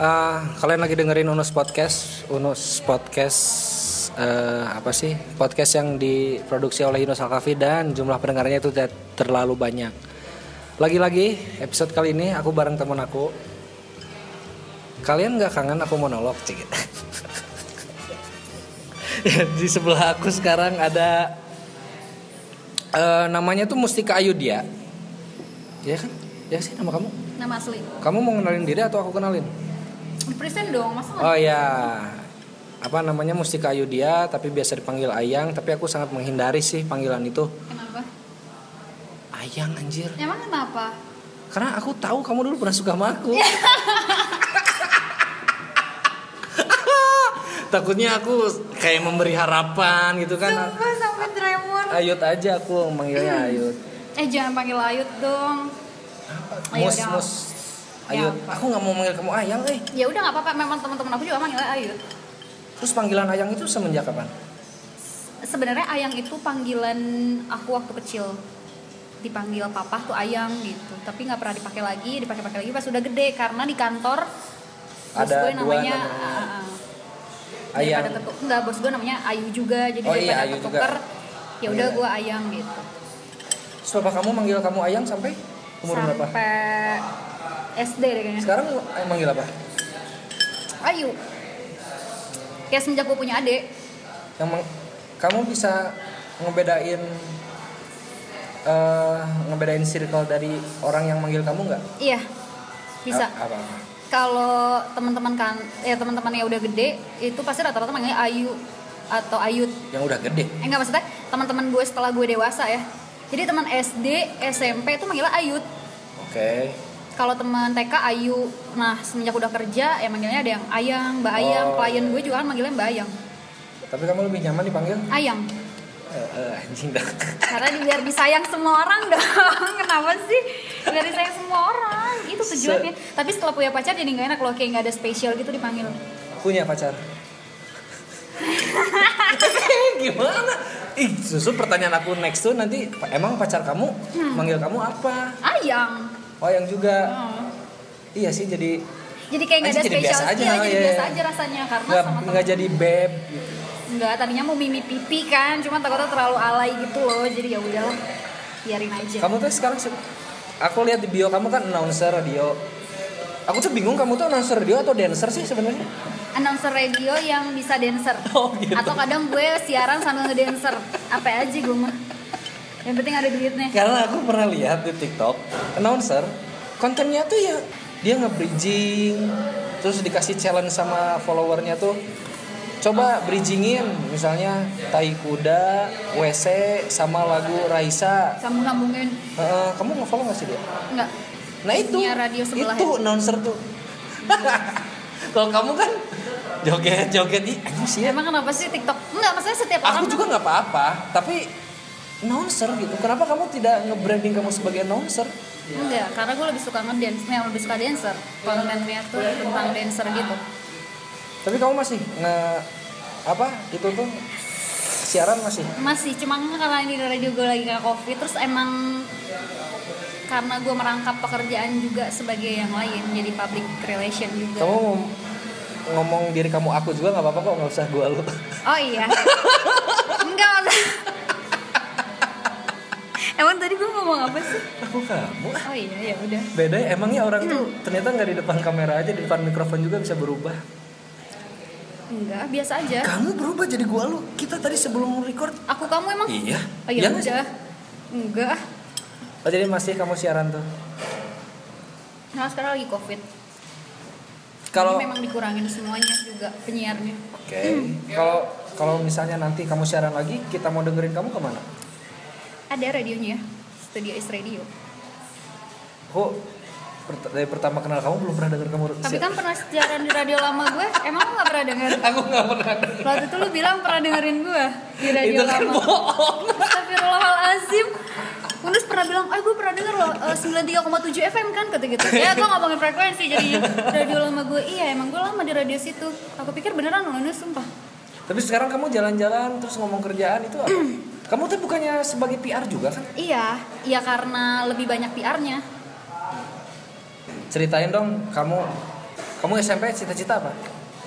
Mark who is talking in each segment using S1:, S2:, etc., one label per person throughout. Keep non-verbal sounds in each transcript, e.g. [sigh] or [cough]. S1: Ah, kalian lagi dengerin Unus Podcast. Unus Podcast eh, apa sih? Podcast yang diproduksi oleh Yunus Alkafi dan jumlah pendengarnya itu tidak terlalu banyak. Lagi-lagi episode kali ini aku bareng teman aku. Kalian nggak kangen aku monolog cik? [laughs] Di sebelah aku sekarang ada eh, namanya tuh Mustika Ayudya. Ya kan? Ya sih nama kamu.
S2: Nama asli.
S1: Kamu mau kenalin diri atau aku kenalin?
S2: Present dong, masa nggak?
S1: Oh ya, apa namanya Mustika Ayudya, tapi biasa dipanggil Ayang. Tapi aku sangat menghindari sih panggilan itu
S2: Kenapa?
S1: Ayang anjir.
S2: Emang kenapa?
S1: Karena aku tahu kamu dulu pernah suka sama aku. [laughs] Takutnya aku kayak memberi harapan gitu kan.
S2: Sumpah sampai tremor.
S1: Ayut aja aku manggilnya Ayut.
S2: Eh jangan panggil Ayut dong. Ayo,
S1: Mus
S2: udah.
S1: mus Ayut.
S2: Ya, apa?
S1: Aku nggak mau manggil kamu Ayang, eh.
S2: Ya udah nggak apa-apa. Memang teman-teman aku juga manggilnya Ayut.
S1: Terus panggilan Ayang itu semenjak kapan?
S2: Sebenarnya Ayang itu panggilan aku waktu kecil dipanggil papa tuh ayang gitu tapi nggak pernah dipakai lagi dipakai-pakai lagi pas udah gede karena di kantor bos
S1: Ada
S2: gue
S1: dua
S2: namanya
S1: namanya.
S2: ah, ah, ah.
S1: Ayang.
S2: daripada ketuk- enggak bos gue namanya Ayu juga jadi
S1: Oh iya,
S2: daripada
S1: Ayu juga.
S2: ketuker ya udah
S1: Iya.
S2: gue ayang gitu
S1: Terus bapak kamu manggil kamu Ayang sampai umur
S2: sampai
S1: berapa?
S2: SD deh kayaknya
S1: Sekarang eh, manggil apa?
S2: Ayu kayak semenjak gue punya adik
S1: Yang meng- kamu bisa ngebedain eh, ngebedain circle dari orang yang manggil kamu nggak?
S2: iya bisa
S1: A- Apa? apa?
S2: kalau teman-teman kan ya teman-teman yang udah gede itu pasti rata-rata manggilnya Ayu atau Ayut
S1: Yang udah gede.
S2: eh nggak maksudnya teman-teman gue setelah gue dewasa ya jadi teman SD SMP itu manggilnya Ayut
S1: Oke.
S2: kalau teman TK Ayu nah semenjak udah kerja ya manggilnya ada yang Ayang Mbak Ayang
S1: Oh,
S2: klien
S1: iya.
S2: gue juga kan manggilnya Mbak Ayang
S1: Tapi kamu lebih nyaman dipanggil?
S2: Ayang
S1: Eh, eh, anjing dah.
S2: Karena di- biar disayang semua orang dong. [laughs] Kenapa sih? Biar disayang semua orang. Itu tujuannya. Tapi setelah punya pacar jadi nggak enak loh kayak nggak ada spesial gitu dipanggil.
S1: Punya pacar? [laughs] Gimana? Ih, susu pertanyaan aku next tuh nanti pa- emang pacar kamu manggil kamu apa?
S2: Ayang.
S1: Oh, yang juga.
S2: Hmm. Oh.
S1: Iya sih jadi
S2: Jadi kayak nggak ada
S1: Anjing, jadi
S2: spesial
S1: biasa aja,
S2: Iya, jadi
S1: iya.
S2: biasa aja rasanya karena
S1: nggak
S2: sama temen
S1: nggak jadi beb gitu.
S2: Nggak, tadinya mau mimi pipi kan, cuma takutnya terlalu alay gitu loh. Jadi ya udahlah, biarin aja.
S1: Kamu tuh sekarang se- aku lihat di bio kamu kan announcer radio. Aku tuh bingung kamu tuh announcer radio atau dancer sih sebenarnya?
S2: Announcer radio yang bisa dancer.
S1: [laughs] Oh, gitu.
S2: Atau kadang gue siaran sambil ngedancer. Apa aja gue mah. Yang penting ada duitnya.
S1: Karena aku pernah lihat di TikTok announcer kontennya tuh ya dia nge-bridging terus dikasih challenge sama followernya tuh coba bridgingin misalnya tai kuda, WC sama lagu Raisa.
S2: Sambung-sambungin.
S1: Heeh, kamu nge-follow gak sih dia?
S2: Enggak.
S1: Nah itu,
S2: Punya radio sebelah ya?
S1: itu announcer tuh. [laughs] Kalau kamu kan joget-joget di anjing sih ya.
S2: Emang kenapa sih TikTok? Enggak, maksudnya setiap orang
S1: Aku juga nggak apa-apa, tapi announcer gitu. Kenapa kamu tidak nge-branding kamu sebagai announcer?
S2: Enggak, karena gue lebih suka ngedance Yang lebih suka dancer Kontennya tuh tentang dancer gitu
S1: Tapi kamu masih nge apa itu tuh siaran masih?
S2: Masih, cuma karena ini di radio gue lagi gak covid Terus emang karena gue merangkap pekerjaan juga sebagai yang lain Jadi public relation juga
S1: Kamu mau ngomong diri kamu aku juga nggak apa-apa kok nggak usah gua lu.
S2: Oh iya Enggak, maksudnya Emang tadi gue ngomong apa sih?
S1: Aku kamu.
S2: Oh iya, ya udah
S1: Beda ya, emangnya orang tuh ternyata nggak di depan kamera aja di depan mikrofon juga bisa berubah.
S2: Enggak, biasa aja
S1: Eh? Kamu berubah jadi gua lu. Kita tadi sebelum record
S2: Aku kamu emang
S1: Iya.
S2: Oh iya,
S1: nggak sih?
S2: udah Enggak
S1: Oh, jadi masih kamu siaran tuh.
S2: Nah sekarang lagi covid
S1: Kalau
S2: Jadi memang dikurangin semuanya juga penyiarnya.
S1: Oke. Kalau kalau misalnya nanti kamu siaran lagi, kita mau dengerin kamu kemana?
S2: Ada radionya, ya, Studio Is Radio.
S1: Aku pert- dari pertama kenal kamu belum pernah denger kamu.
S2: Tapi
S1: si-
S2: kan pernah siaran di radio lama gue, emang lo gak pernah denger?
S1: aku nggak pernah. denger.
S2: Waktu itu lo bilang pernah dengerin gue di radio
S1: Itu kan
S2: lama.
S1: bohong.
S2: Astagfirullahalazim. Terus pernah bilang, oh gue pernah denger loh eh, 93,7 FM kan kata gitu. Ya gue ngomongin frekuensi jadi radio lama gue. Iya emang gue lama di radio situ. Aku pikir beneran loh, ini sumpah.
S1: Tapi sekarang kamu jalan-jalan terus ngomong kerjaan itu
S2: [clears throat]
S1: apa? kamu tuh bukannya sebagai PR juga kan?
S2: Iya, iya karena lebih banyak PR-nya.
S1: Ceritain dong kamu Kamu SMP cita-cita apa?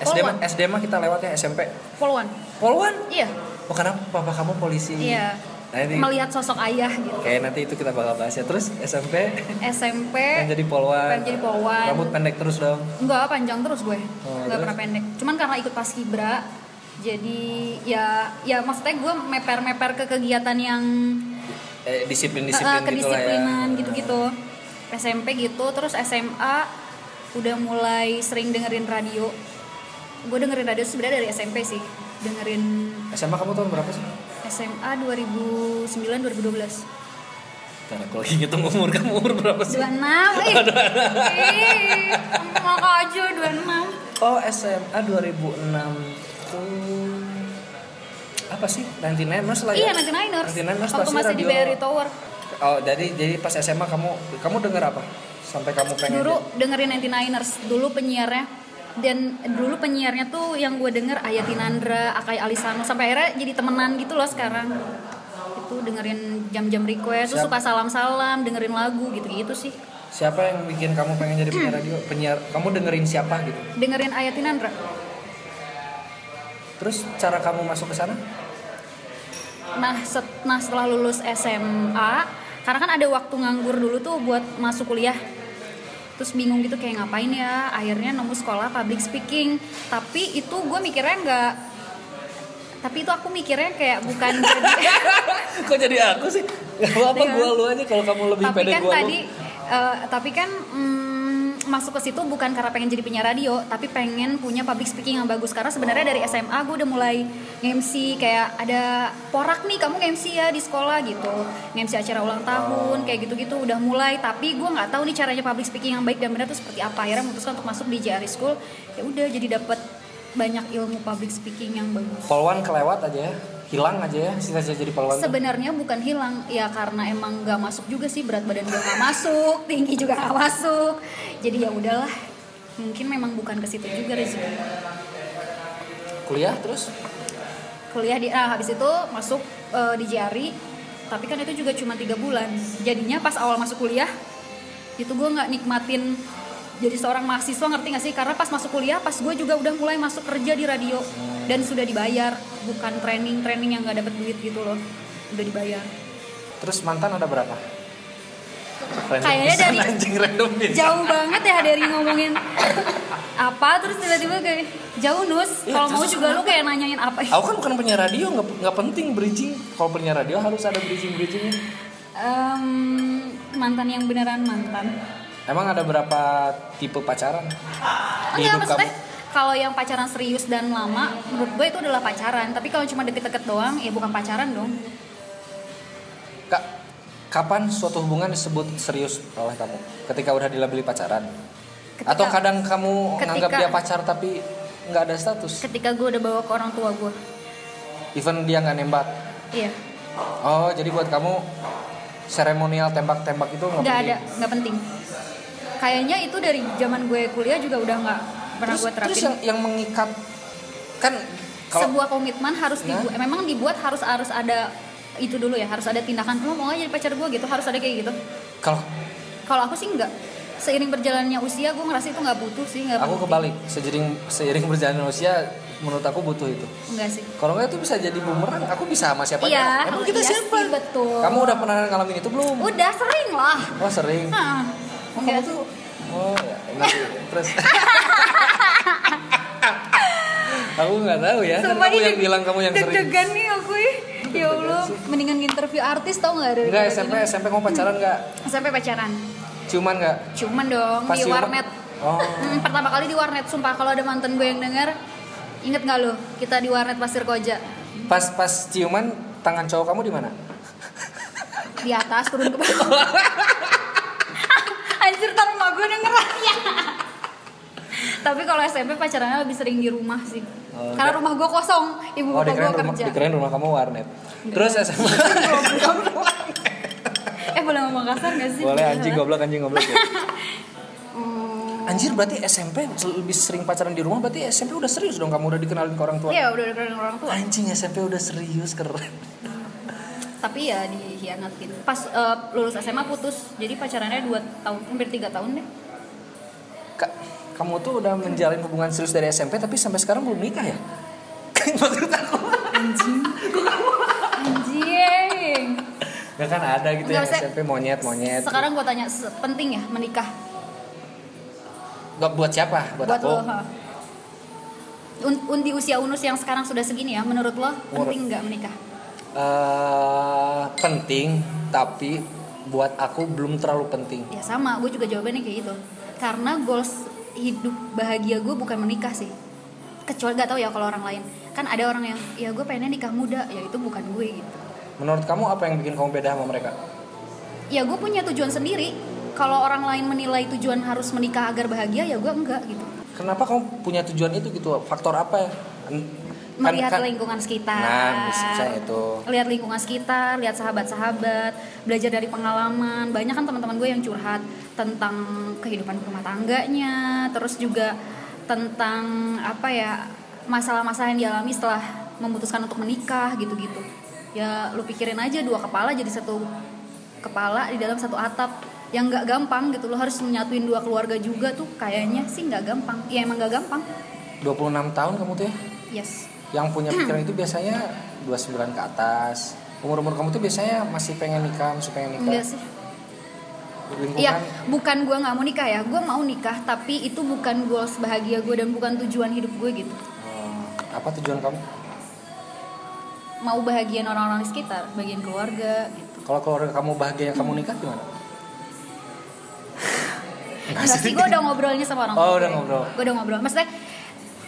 S1: SD mah
S2: Polwan.
S1: SD mah kita lewatnya SMP.
S2: Polwan.
S1: Polwan.
S2: Iya.
S1: Oh karena papa kamu polisi.
S2: Iya.
S1: Nah, ini
S2: Melihat sosok ayah gitu.
S1: kayak nanti itu kita bakal bahas ya. Terus SMP
S2: SMP
S1: pengen jadi polwan.
S2: pengen Eh, jadi polwan.
S1: Rambut pendek terus dong.
S2: enggak panjang terus gue. Enggak
S1: terus?
S2: pernah pendek. Cuman karena ikut paskibra jadi ya ya maksudnya gue meper-meper ke kegiatan yang
S1: Eh, disiplin disiplin
S2: eh,
S1: gitu lah ya.
S2: kedisiplinan gitu-gitu. SMP gitu, terus SMA udah mulai sering dengerin radio. Gue dengerin radio sebenarnya dari SMP sih. Dengerin
S1: SMA kamu tahun berapa sih?
S2: SMA 2009 2012.
S1: Ntar aku lagi ngitung umur kamu umur gitu, berapa sih?
S2: 26. Ih. Ih. Ngomong aja 26.
S1: Oh SMA 2006 tuh apa sih? 99ers lah
S2: Iya,
S1: ya?
S2: 99ers.
S1: 99ers
S2: Waktu
S1: pasti
S2: masih di
S1: radio.
S2: BRI Tower.
S1: Oh, jadi jadi pas SMA kamu kamu dengar apa? Sampai kamu pengen
S2: Dulu dengerin 99ers dulu penyiarnya dan dulu penyiarnya tuh yang gue denger Aya Tinandra, Akai Alisano sampai akhirnya jadi temenan gitu loh sekarang. Itu dengerin jam-jam request, terus
S1: Siap.
S2: suka salam-salam, dengerin lagu gitu-gitu sih.
S1: siapa yang bikin kamu pengen jadi
S2: [clears throat]
S1: penyiar radio? Penyiar kamu dengerin siapa gitu?
S2: Dengerin Aya Tinandra.
S1: Terus cara kamu masuk ke sana?
S2: Nah, set- nah setelah lulus SMA, karena kan ada waktu nganggur dulu tuh buat masuk kuliah. Terus bingung gitu kayak ngapain ya, akhirnya nemu sekolah public speaking. Tapi itu gue mikirnya nggak, tapi itu aku mikirnya kayak bukan jadi.
S1: [laughs] Kok jadi aku sih? Gak apa-apa
S2: Iya.
S1: gua lu aja kalau kamu lebih
S2: tapi
S1: pede
S2: kan
S1: gua lu.
S2: tadi, eh, tapi kan mm, masuk ke situ bukan karena pengen jadi penyiar radio, tapi pengen punya public speaking yang bagus. Karena sebenarnya dari SMA gue udah mulai MC kayak ada porak nih kamu MC ya di sekolah gitu, MC acara ulang tahun kayak gitu-gitu udah mulai. Tapi gue nggak tahu nih caranya public speaking yang baik dan benar tuh seperti apa. Akhirnya memutuskan untuk masuk di JRI School. Ya udah jadi dapat banyak ilmu public speaking yang bagus.
S1: Polwan kelewat aja ya. Hilang aja ya cita-cita jadi polwan. tuh.
S2: Sebenarnya bukan hilang, ya karena emang nggak masuk juga sih berat badan gue nggak masuk, [laughs] tinggi juga nggak masuk. Jadi ya udahlah, mungkin memang bukan ke situ juga rezeki.
S1: Kuliah terus
S2: Kuliah di, nah habis itu masuk eh, di JRI, tapi kan itu juga cuma tiga bulan. Jadinya pas awal masuk kuliah, itu gue nggak nikmatin jadi seorang mahasiswa ngerti gak sih? Karena pas masuk kuliah, pas gue juga udah mulai masuk kerja di radio dan sudah dibayar, bukan training-training yang nggak dapet duit gitu loh, udah dibayar.
S1: terus mantan ada berapa? Random [laughs]
S2: Kayaknya
S1: pisan,
S2: dari-
S1: anjing random pisan.
S2: jauh banget ya dari ngomongin apa terus tiba-tiba kayak jauh nus
S1: Iya,
S2: kalau mau
S1: terus
S2: juga lu kayak nanyain apa ya
S1: Aku kan bukan penyiar radio, nggak nggak penting bridging. Kalau penyiar radio harus ada bridging bridgingnya.
S2: Em, mantan yang beneran mantan
S1: Emang ada berapa tipe pacaran
S2: oh,
S1: di
S2: iya
S1: hidup kamu?
S2: maksudnya kalau yang pacaran serius dan lama menurut gue itu adalah pacaran tapi kalau cuma deket-deket doang ya bukan pacaran dong
S1: Kak, kapan suatu hubungan disebut serius oleh kamu? Ketika udah dilabeli pacaran?
S2: Ketika-
S1: Atau kadang kamu
S2: ketika-
S1: nganggap dia pacar tapi nggak ada status?
S2: ketika gue udah bawa ke orang tua gue
S1: Even dia nggak nembak?
S2: iya
S1: Oh, jadi buat kamu seremonial tembak-tembak itu nggak
S2: nggak ada
S1: penting?
S2: nggak penting kayaknya itu dari zaman gue kuliah juga udah nggak pernah
S1: Terus,
S2: gue terapin
S1: terus yang, yang mengikat kan kalau
S2: sebuah komitmen harus dibuat memang dibuat harus harus ada itu dulu ya harus ada tindakan lo mau gak jadi pacar gue gitu harus ada kayak gitu
S1: kalau
S2: kalau aku sih enggak seiring berjalannya usia gue ngerasa itu nggak butuh sih nggak
S1: aku
S2: penting.
S1: kebalik seiring seiring berjalannya usia menurut aku butuh itu
S2: enggak sih
S1: kalau nggak itu bisa jadi bumerang aku bisa sama siapa
S2: iya
S1: aja. emang kita
S2: iya
S1: siapa
S2: sih, betul
S1: kamu udah pernah ngalamin itu belum
S2: udah sering lah
S1: oh sering
S2: Hah,
S1: oh,
S2: Iya.
S1: kamu
S2: enggak.
S1: tuh oh ya enggak sih. terus [laughs] aku nggak tahu ya kan
S2: Sumpah
S1: kamu
S2: ini
S1: yang bilang kamu yang sering
S2: deg-degan nih aku ih. ya allah mendingan interview artis tau nggak dari
S1: Enggak SMP SMP kamu pacaran nggak
S2: sampai pacaran
S1: ciuman nggak
S2: cuman dong
S1: Pas
S2: di
S1: ciuman-
S2: warnet
S1: oh
S2: Hmm, pertama kali di warnet sumpah kalau ada mantan gue yang denger inget nggak lo kita di warnet pasir koja
S1: pas pas ciuman tangan cowok kamu di mana
S2: di atas turun ke bawah [laughs] anjir tar emak gue denger ya tapi kalau SMP pacarannya lebih sering di rumah sih
S1: Oh,
S2: karena rumah gue kosong ibu
S1: oh
S2: bapak
S1: dikeren
S2: gue
S1: rumah
S2: kerja
S1: dikeren rumah kamu warnet terus
S2: [laughs]
S1: SMA
S2: eh boleh ngomong kasar gak sih
S1: boleh anjing goblok anjing goblok ya.
S2: Hmm,
S1: Anjir berarti SMP lebih sering pacaran di rumah berarti SMP udah serius dong kamu udah dikenalin ke orang tua.
S2: Iya udah dengerin orang tua
S1: Anjing SMP udah serius keren.
S2: Tapi ya dihianatin Pas eh, lulus SMA putus Jadi pacarannya 2 tahun Hampir 3 tahun deh
S1: Kak, kamu tuh udah menjalin hubungan serius dari SMP tapi sampai sekarang belum nikah ya? Maksud aku.
S2: Anjing.
S1: Ya kan ada gitu ya
S2: Nggak, maksudnya-
S1: SMP monyet-monyet.
S2: Sekarang gue tanya, se- penting ya menikah
S1: Buat siapa? Buat,
S2: buat,
S1: aku.
S2: lo? ha? Un- un- di usia Unus yang sekarang sudah segini ya, menurut lo penting nggak menikah?
S1: Eh, penting tapi buat aku belum terlalu penting.
S2: Ya sama, gue juga jawabannya kayak gitu. Karena goals hidup bahagia gue bukan menikah sih. Kecuali gak tau ya kalau orang lain. Kan ada orang yang, ya gue pengennya nikah muda, ya itu bukan gue gitu.
S1: Menurut kamu apa yang bikin kamu beda sama mereka?
S2: Ya gue punya tujuan sendiri. Kalau orang lain menilai tujuan harus menikah agar bahagia, ya gue enggak gitu.
S1: Kenapa kamu punya tujuan itu gitu? Faktor apa ya? Kan- kan-
S2: Melihat
S1: kan-
S2: lingkungan sekitar.
S1: Nah, bisa itu.
S2: Lihat lingkungan sekitar, lihat sahabat-sahabat, belajar dari pengalaman. Banyak kan teman-teman gue yang curhat tentang kehidupan rumah tangganya, terus juga tentang apa ya masalah-masalah yang dialami setelah memutuskan untuk menikah gitu-gitu. Ya lu pikirin aja dua kepala jadi satu kepala di dalam satu atap yang nggak gampang gitu lo harus menyatuin dua keluarga juga tuh kayaknya sih nggak gampang ya emang nggak gampang
S1: 26 tahun kamu tuh ya?
S2: yes
S1: Yang punya pikiran itu biasanya 29 ke atas. Umur-umur kamu tuh biasanya masih pengen nikah, masih pengen nikah.
S2: enggak sih
S1: Lingkungan
S2: Iya, bukan gue nggak mau nikah ya, gue mau nikah tapi itu bukan goals bahagia gue dan bukan tujuan hidup gue gitu.
S1: Hmm, apa tujuan kamu?
S2: Mau bahagian orang-orang di sekitar, bagian keluarga gitu.
S1: Kalau keluarga kamu bahagia yang kamu
S2: Hmm.
S1: nikah
S2: [laughs]
S1: gimana?
S2: Enggak sih, gue udah ngobrolnya sama orang
S1: Oh,
S2: tua
S1: udah
S2: gue.
S1: ngobrol.
S2: Gue udah ngobrol. Maksudnya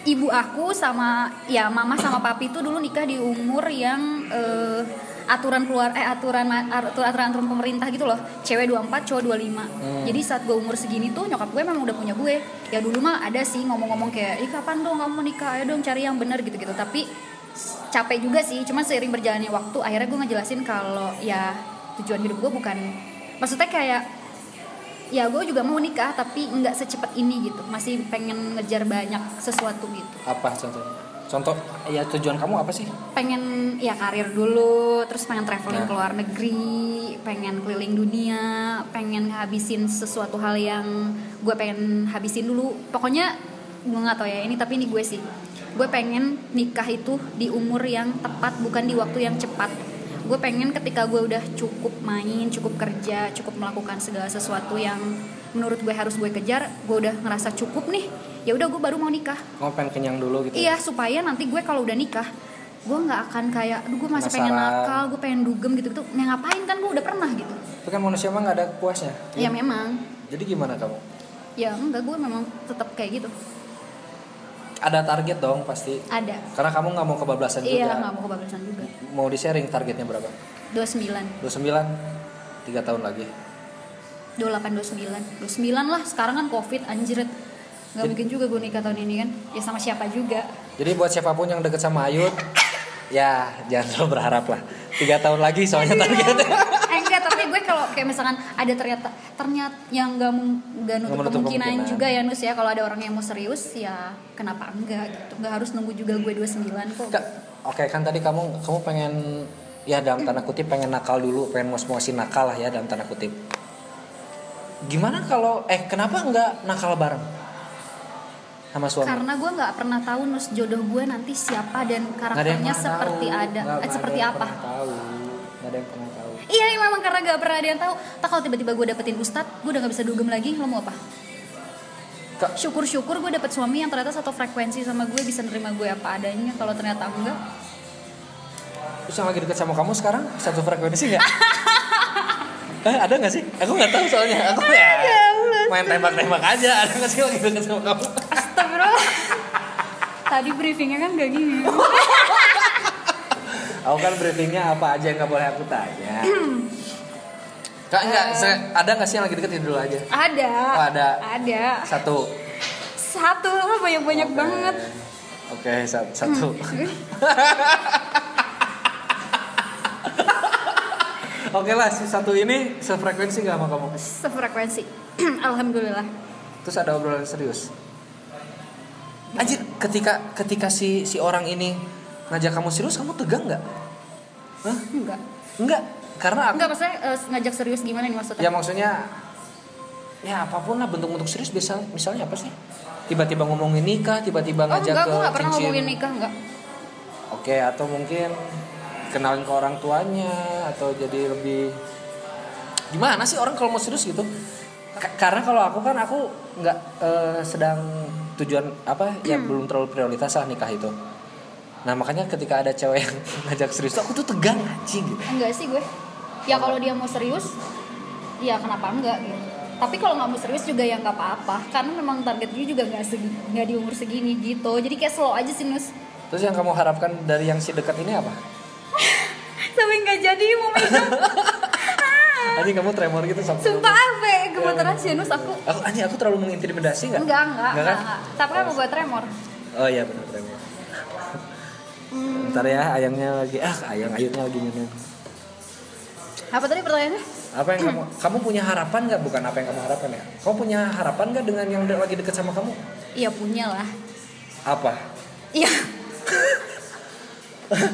S2: ibu aku sama ya mama sama papi itu dulu nikah di umur yang eh, aturan keluar eh aturan aturan aturan pemerintah gitu loh. Cewek 24, cowok 25.
S1: Hmm.
S2: Jadi saat gue umur segini tuh nyokap gue memang udah punya gue. Ya dulu mah ada sih ngomong-ngomong kayak, "Ih, kapan dong kamu mau nikah? Ayo dong cari yang bener gitu-gitu." Tapi s- capek juga sih. Cuman seiring berjalannya waktu akhirnya gue ngejelasin kalau ya tujuan hidup gue bukan maksudnya kayak ya gue juga mau nikah tapi nggak secepat ini gitu masih pengen ngejar banyak sesuatu gitu
S1: Apa contohnya? Contoh, ya tujuan kamu apa sih?
S2: pengen ya karir dulu terus pengen traveling
S1: Nah.
S2: ke luar negeri pengen keliling dunia pengen habisin sesuatu hal yang gue pengen habisin dulu pokoknya gue nggak tau ya ini tapi ini gue sih gue pengen nikah itu di umur yang tepat bukan di waktu yang cepat gue pengen ketika gue udah cukup main cukup kerja cukup melakukan segala sesuatu yang menurut gue harus gue kejar gue udah ngerasa cukup nih ya udah gue baru mau nikah
S1: Kamu pengen kenyang dulu gitu?
S2: Iya supaya nanti gue kalau udah nikah gue nggak akan kayak, aduh gue masih pengen
S1: Penasaran.
S2: nakal, gue pengen dugem gitu gitu. Nah ngapain kan gue udah pernah gitu.
S1: Tapi kan manusia mah nggak ada puasnya.
S2: Ya memang,
S1: Jadi gimana kamu?
S2: ya enggak gue memang tetap kayak gitu.
S1: Ada target dong pasti.
S2: Ada.
S1: Karena kamu nggak mau kebablasan
S2: Iya
S1: juga.
S2: nggak mau kebablasan juga.
S1: Mau di sharing targetnya berapa?
S2: 29,
S1: 29? 3 tahun lagi.
S2: 28, 29, 29 lah. Sekarang kan covid anjir. Gak
S1: Jadi-
S2: mungkin juga gue nikah tahun ini kan. Ya sama siapa juga.
S1: Jadi buat siapapun yang deket sama Ayun, ya jangan terlalu berharap lah. Tiga tahun lagi soalnya targetnya.
S2: Eh, enggak tapi gue kalau kayak misalkan ada ternyata ternyata yang nggak mung- nggak nutup
S1: Nggak menutup
S2: kemungkinan,
S1: kemungkinan.
S2: juga ya Nus ya kalau ada orang yang mau serius ya kenapa enggak gitu nggak harus nunggu juga gue 29 kok
S1: Kak, Oke kan tadi kamu kamu pengen ya dalam tanda kutip pengen nakal dulu, pengen mos-mosin nakal lah ya dalam tanda kutip. Gimana kalau eh kenapa nggak nakal bareng sama suami?
S2: karena gue nggak pernah tahu Nus jodoh gue nanti siapa dan
S1: Nggak ada yang
S2: karakternya
S1: pernah
S2: seperti
S1: tahu.
S2: ada
S1: Nggak-
S2: eh,
S1: nggak
S2: seperti
S1: ada yang
S2: apa
S1: pernah tahu. Nggak ada yang pernah tahu.
S2: Iya memang karena nggak pernah ada yang tahu. Tak kalau tiba-tiba gue dapetin ustadz, gue udah nggak bisa dugem lagi. Lo mau apa?
S1: Kak-
S2: Syukur-syukur gue dapet suami yang ternyata satu frekuensi sama gue bisa nerima gue apa adanya. Kalau ternyata enggak,
S1: Terus yang lagi deket sama kamu sekarang satu frekuensi nggak? Eh, ada nggak sih? Aku nggak tahu soalnya. Aku ya main tembak-tembak aja. Ada nggak sih lagi deket sama kamu?
S2: Astagfirullah. Tadi briefingnya kan gak gini.
S1: Aku kan briefingnya apa aja yang nggak boleh aku tanya. [clears throat] Kak nggak, se- ada nggak sih yang lagi deket ya dulu aja?
S2: Ada.
S1: Oh, ada.
S2: Ada.
S1: Satu.
S2: Satu lah banyak-banyak
S1: Oke.
S2: banget.
S1: Oke, sat- satu. [laughs] Oke lah, si satu ini sefrekuensi nggak sama kamu?
S2: Sefrekuensi. [clears throat] Alhamdulillah.
S1: Terus ada obrolan serius. Anjir, ketika ketika si si orang ini ngajak kamu serius, kamu tegang nggak? Hah?
S2: Enggak.
S1: Enggak, karena aku
S2: Enggak maksudnya eh, ngajak serius gimana nih maksudnya?
S1: ya maksudnya ya apapun lah bentuk-bentuk serius bisa misalnya apa sih? tiba-tiba ngomongin nikah tiba-tiba
S2: Oh
S1: ngajak
S2: enggak,
S1: ke
S2: gue gak pernah
S1: cincin.
S2: ngomongin nikah enggak
S1: Oke, atau mungkin kenalin ke orang tuanya atau jadi lebih gimana sih orang kalau mau serius gitu? Ka- karena kalau aku kan aku nggak eh, sedang tujuan apa ya
S2: Hmm.
S1: belum terlalu prioritas lah nikah itu. Nah makanya ketika ada cewek yang [laughs] ngajak serius tuh aku tuh tegang anjing gitu.
S2: Enggak sih gue Ya kalau dia mau serius Ya kenapa enggak gitu tapi kalau nggak mau serius juga ya nggak apa-apa karena memang target gue juga nggak segi nggak di umur segini gitu jadi kayak slow aja sih nus
S1: Terus yang kamu harapkan dari yang si dekat ini apa?
S2: sampai nggak jadi mau megang
S1: Anjing kamu tremor gitu sama.
S2: [laughs] Ah. sumpah apa gemeteran sih nus aku
S1: Aku anjing aku terlalu mengintimidasi nggak?
S2: enggak enggak
S1: Enggak
S2: enggak,
S1: kan?
S2: enggak. tapi kan mau buat tremor
S1: Oh iya benar tremor. Ntar ya ayangnya lagi ah ayang ayunnya lagi minum.
S2: apa tadi pertanyaannya
S1: Apa yang kamu kamu punya harapan nggak? Bukan apa yang kamu harapkan ya. Kamu punya harapan nggak dengan yang de- lagi deket sama kamu?
S2: iya punya lah
S1: Apa?
S2: iya kan?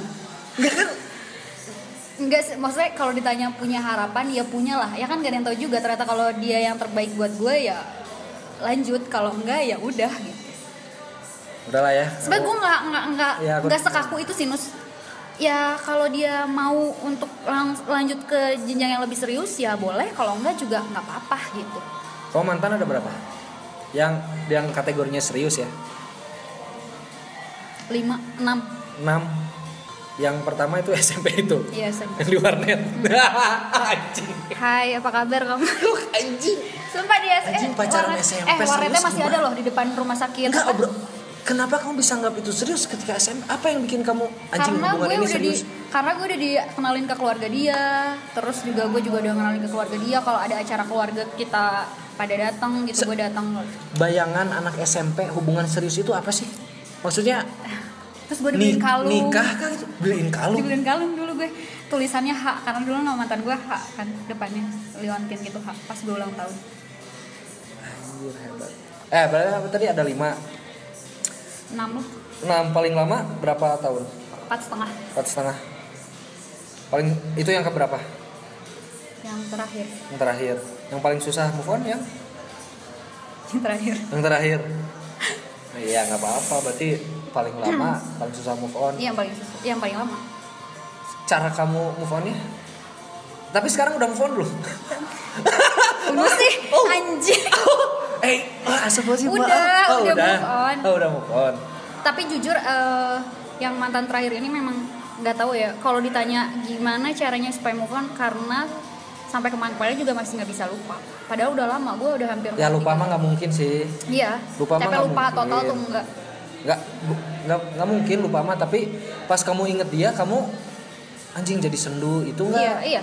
S2: Enggak sih, maksudnya kalau ditanya punya harapan, ya punya lah. Ya kan gak ada yang tahu juga. Ternyata kalau dia yang terbaik buat gue ya lanjut. Kalau enggak ya udah gitu.
S1: Udahlah ya.
S2: Sebenernya gue nggak nggak nggak
S1: Ya, aku-
S2: nggak sekaku itu sinus. Ya kalau dia mau untuk lang- lanjut ke jenjang yang lebih serius ya boleh. Kalau enggak juga nggak apa-apa gitu.
S1: Kamu mantan ada berapa? Yang yang kategorinya serius ya.
S2: 5, 6
S1: 6 yang pertama itu [laughs] SMP itu
S2: Iya, sen-
S1: yang di warnet [laughs] anjing
S2: Hai, apa kabar kamu?
S1: lu anjing
S2: Sumpah dia eh,
S1: Anjing, pacaran
S2: warnet-
S1: SMP,
S2: Eh, warnetnya
S1: serius
S2: masih
S1: gimana?
S2: ada loh di depan rumah sakit.
S1: enggak
S2: Apa?
S1: bro kenapa kamu bisa anggap itu serius ketika SMP apa yang bikin kamu anjing
S2: karena gue
S1: hubungan ini
S2: udah di
S1: serius
S2: karena gue udah dikenalin ke keluarga dia terus juga gue juga udah kenalin ke keluarga dia kalau ada acara keluarga kita pada datang gitu
S1: Se-
S2: gue datang
S1: bayangan anak SMP hubungan serius itu apa sih maksudnya
S2: terus gue dibeliin
S1: ni-
S2: kalung
S1: nikah kan itu beliin kalung
S2: dibeliin kalung dulu gue tulisannya H karena dulu nama mantan gue H kan depannya Leontin gitu H pas gue ulang tahun
S1: Anjir, hebat. eh berarti apa tadi ada lima
S2: 6 loh
S1: enam paling lama berapa tahun
S2: empat setengah
S1: empat setengah paling itu yang keberapa
S2: yang terakhir
S1: yang terakhir yang paling susah move on yang
S2: yang terakhir
S1: yang
S2: [laughs]
S1: terakhir iya nggak apa-apa berarti paling lama
S2: [laughs]
S1: paling susah move on
S2: Iya, yang paling sus- yang paling lama
S1: cara kamu move onnya tapi sekarang udah move on
S2: [laughs]
S1: belum
S2: Bunuh sih anjing
S1: eh ah, asap banget sih
S2: Udah,
S1: maaf. oh,
S2: udah
S1: udah
S2: move on.
S1: oh, udah move on
S2: [laughs] tapi jujur eh, yang mantan terakhir ini memang nggak tahu ya kalau ditanya gimana caranya supaya move on karena sampai kemarin-kemarin juga masih nggak bisa lupa padahal udah lama gue udah hampir
S1: ya lupa mah nggak mungkin sih
S2: iya
S1: Lupa mah
S2: tapi
S1: nggak
S2: lupa
S1: mungkin.
S2: total tuh enggak
S1: nggak bu- nggak nggak mungkin lupa mah tapi pas kamu inget dia kamu anjing jadi sendu itu
S2: iya
S1: nggak
S2: iya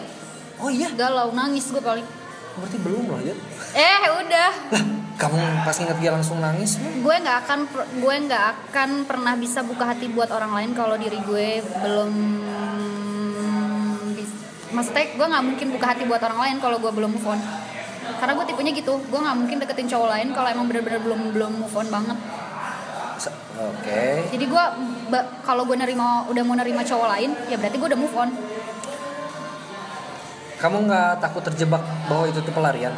S1: oh iya
S2: galau nangis gue paling
S1: berarti belum lah ya
S2: eh udah
S1: lah kamu pas inget dia langsung nangis
S2: gue nggak akan per- gue nggak akan pernah bisa buka hati buat orang lain kalau diri gue belum bis- maksudnya gue nggak mungkin buka hati buat orang lain kalau gue belum move on karena gue tipenya gitu gue nggak mungkin deketin cowok lain kalau emang bener-bener belum belum move on banget
S1: Se- oke
S2: jadi gue ba- kalau gue nerima udah mau nerima cowok lain ya berarti gue udah move on
S1: Kamu nggak takut terjebak bahwa itu tuh pelarian?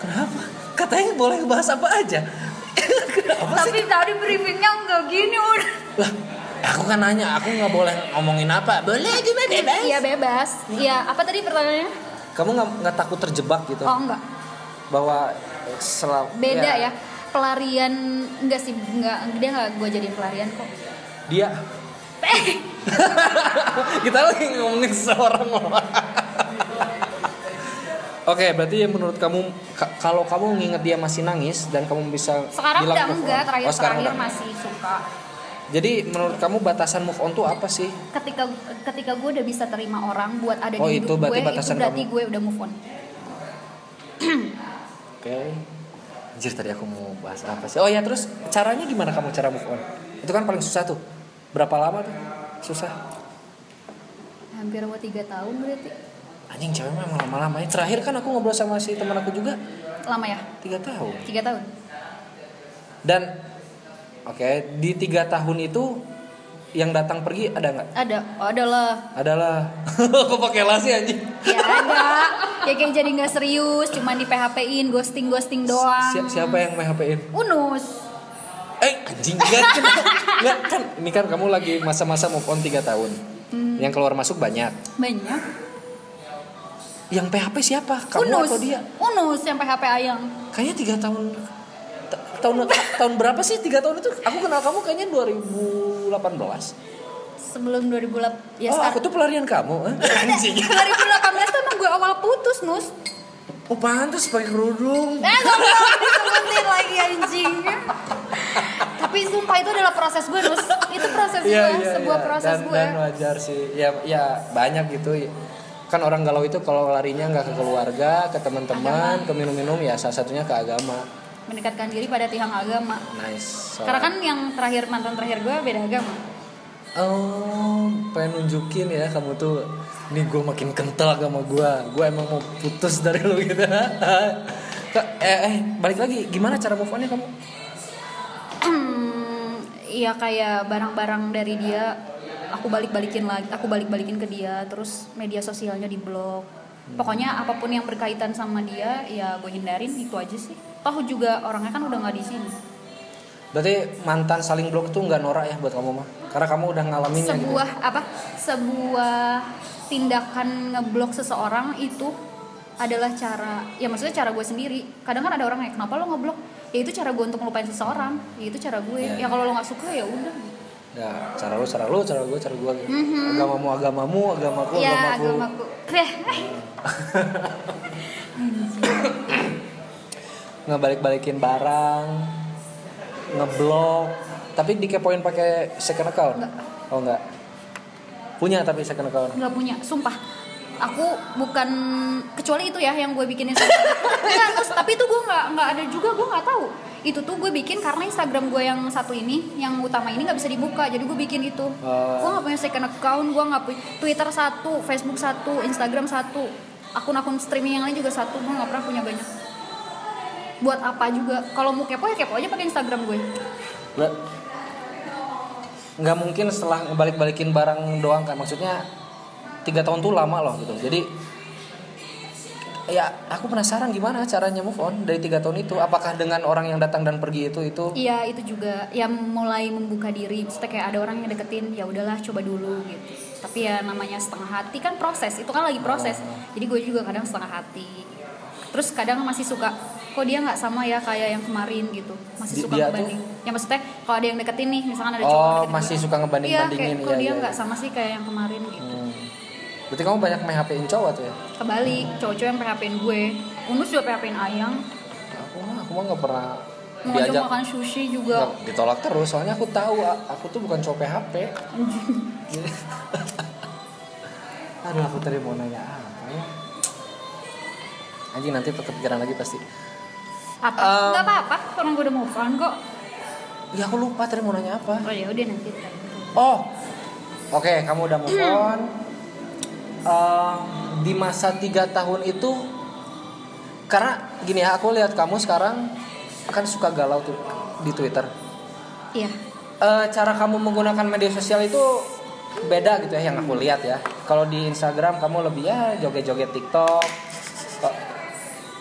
S1: Kenapa? Katanya boleh bahas apa aja. [laughs] Kenapa sih?
S2: tapi tadi briefingnya nggak gini udah
S1: Lah, aku kan nanya, aku nggak boleh ngomongin apa. Boleh gimana, Bang?
S2: iya bebas iya apa tadi pertanyaannya
S1: Kamu nggak nggak takut terjebak gitu
S2: oh enggak
S1: bahwa eh, selalu
S2: beda
S1: Iya.
S2: ya, pelarian enggak sih enggak dia enggak gue jadiin pelarian kok [laughs]
S1: Dia [laughs] kita lagi ngomongin seorang orang. Oke, berarti yang menurut kamu ka- kalau kamu nginget dia masih nangis dan kamu bisa
S2: sekarang
S1: bilang
S2: udah
S1: move on.
S2: enggak terakhir
S1: Oh, sekarang
S2: terakhir
S1: udah.
S2: masih suka
S1: Jadi menurut kamu batasan move on tuh apa sih?
S2: ketika ketika gue udah bisa terima orang buat ada
S1: Oh,
S2: di
S1: itu
S2: hidup
S1: berarti
S2: gue itu
S1: batasan
S2: berarti
S1: kamu.
S2: gue udah move on
S1: Oke. Anjir tadi aku mau bahas apa sih? Oh ya terus caranya gimana kamu cara move on? Itu kan paling susah tuh. Berapa lama tuh? Susah.
S2: hampir mau tiga tahun berarti
S1: Anjing cewek memang lama-lama. ya. Terakhir kan aku ngobrol sama si teman aku juga
S2: lama ya
S1: tiga tahun.
S2: tiga tahun
S1: Dan oke di tiga tahun itu yang datang pergi ada nggak?
S2: Ada, oh, ada lah.
S1: Adalah. [laughs] Kok pakai lah sih anjing?
S2: Ya ada. ya kayak jadi nggak serius, cuman di PHP-in, ghosting ghosting doang.
S1: Si- siapa yang main HP-in?
S2: Unus.
S1: Eh anjing enggak, kan, enggak kan ini kan kamu lagi masa-masa move on 3 tahun. Yang keluar masuk banyak.
S2: Banyak.
S1: Yang PHP siapa? Kamu
S2: Unus.
S1: atau dia?
S2: Unus yang PHP ayang.
S1: Kayaknya tiga tahun ta- tahun tahun berapa sih tiga tahun itu? Aku kenal kamu kayaknya 2018.
S2: Sebelum 2008 ya
S1: oh,
S2: sekarang.
S1: aku tuh pelarian kamu. eh. Anjing.
S2: 2018 tuh emang gue awal putus, Nus.
S1: Oh pantas pakai kerudung.
S2: Eh, gak mau disebutin lagi anjing. Tapi sumpah itu adalah proses gue, Nus. Itu proses gue, Iya, sebuah proses
S1: Iya, dan,
S2: gue.
S1: dan wajar sih. Ya ya banyak gitu. Kan orang galau itu kalau larinya nggak ke keluarga, ke teman-teman, ke minum-minum ya salah satunya ke agama.
S2: Mendekatkan diri pada tiang agama.
S1: Nice.
S2: Karena kan yang terakhir mantan terakhir gue beda agama.
S1: Oh, pengen nunjukin ya kamu tuh nih gue makin kental agama gue gue emang mau putus dari lu [laughs] gitu Kak, eh, eh balik lagi gimana cara move onnya kamu
S2: Iya kayak barang-barang dari dia aku balik-balikin lagi, aku balik-balikin ke dia, terus media sosialnya diblok. Pokoknya apapun yang berkaitan sama dia ya gue hindarin itu aja sih. Toh juga orangnya kan udah nggak di sini.
S1: berarti mantan saling blok tuh nggak norak ya buat kamu mah karena kamu udah ngalaminnya gitu
S2: sebuah apa sebuah tindakan ngeblok seseorang itu adalah cara ya maksudnya cara gue sendiri kadang kan ada orang yang kenapa lo ngeblok ya itu cara gue untuk ngelupain seseorang ya itu cara gue
S1: Iya.
S2: ya kalau lo nggak suka ya udah
S1: Ya, cara lu, cara lu, cara gue, cara gue. gitu. Agamamu, agamamu, agamaku,
S2: ya
S1: agamaku.
S2: agamaku Iya. Kreh.
S1: Ngebalik-balikin barang, ngeblok. Tapi dikepoin pakai second account?
S2: Enggak.
S1: Oh enggak. Punya tapi second account.
S2: nggak punya sumpah aku bukan kecuali itu ya yang gue bikinin Nggak, terus tapi itu gue nggak nggak ada juga gue nggak tahu itu tuh gue bikin karena Instagram gue yang satu ini yang utama ini nggak bisa dibuka jadi gue bikin itu
S1: Oh.
S2: gue nggak punya second account gue nggak punya Twitter satu Facebook satu Instagram satu akun-akun streaming yang lain juga satu gue nggak pernah punya banyak buat apa juga kalau mau kepo ya kepo aja pakai Instagram gue
S1: Lah, Nggak mungkin setelah ngebalik-balikin barang doang kan. Maksudnya tiga tahun tuh lama loh gitu. Jadi ya aku penasaran gimana caranya move on dari tiga tahun itu apakah dengan orang yang datang dan pergi itu itu
S2: Iya itu juga ya mulai membuka diri Maksudnya kayak ada orang yang deketin ya udahlah coba dulu gitu Tapi ya namanya setengah hati kan proses itu kan lagi proses
S1: Iya.
S2: Jadi gue juga kadang setengah hati Terus kadang masih suka kok dia nggak sama ya kayak yang kemarin gitu Masih
S1: Di-
S2: suka
S1: dia
S2: ngebanding Ya maksudnya kalau ada yang deketin nih misalkan ada cowok
S1: oh
S2: deketin
S1: masih
S2: gue.
S1: suka
S2: Iya kayak
S1: ngebanding-bandingin
S2: kok dia nggak sama sih kayak yang kemarin gitu
S1: Hmm. Berarti kamu banyak main HP-in cowok tuh ya?
S2: Kebalik cowok-cowok yang PHP-in gue Unus juga PHP-in Ayang
S1: Aku mah aku mah nggak pernah
S2: Mau
S1: diajak
S2: ngajak makan sushi juga
S1: nggak, ditolak terus soalnya aku tahu a- aku tuh bukan cowok PHP.
S2: [laughs]
S1: Jadi- Aduh aku tadi mau nanya apa ya? Anjing nanti kepikiran lagi pasti.
S2: Apa?
S1: Um,
S2: nggak apa-apa orang gue udah move on kok
S1: Ya aku lupa tadi mau nanya apa.
S2: Oh ya udah nanti tanya.
S1: Oh, oke kamu udah move on. Eh, di masa tiga tahun itu, karena gini ya aku lihat kamu sekarang kan suka galau tuh di Twitter.
S2: Iya.
S1: Eh, cara kamu menggunakan media sosial itu beda gitu ya yang aku lihat ya. Kalau di Instagram kamu lebih ya joget-joget TikTok. Kok-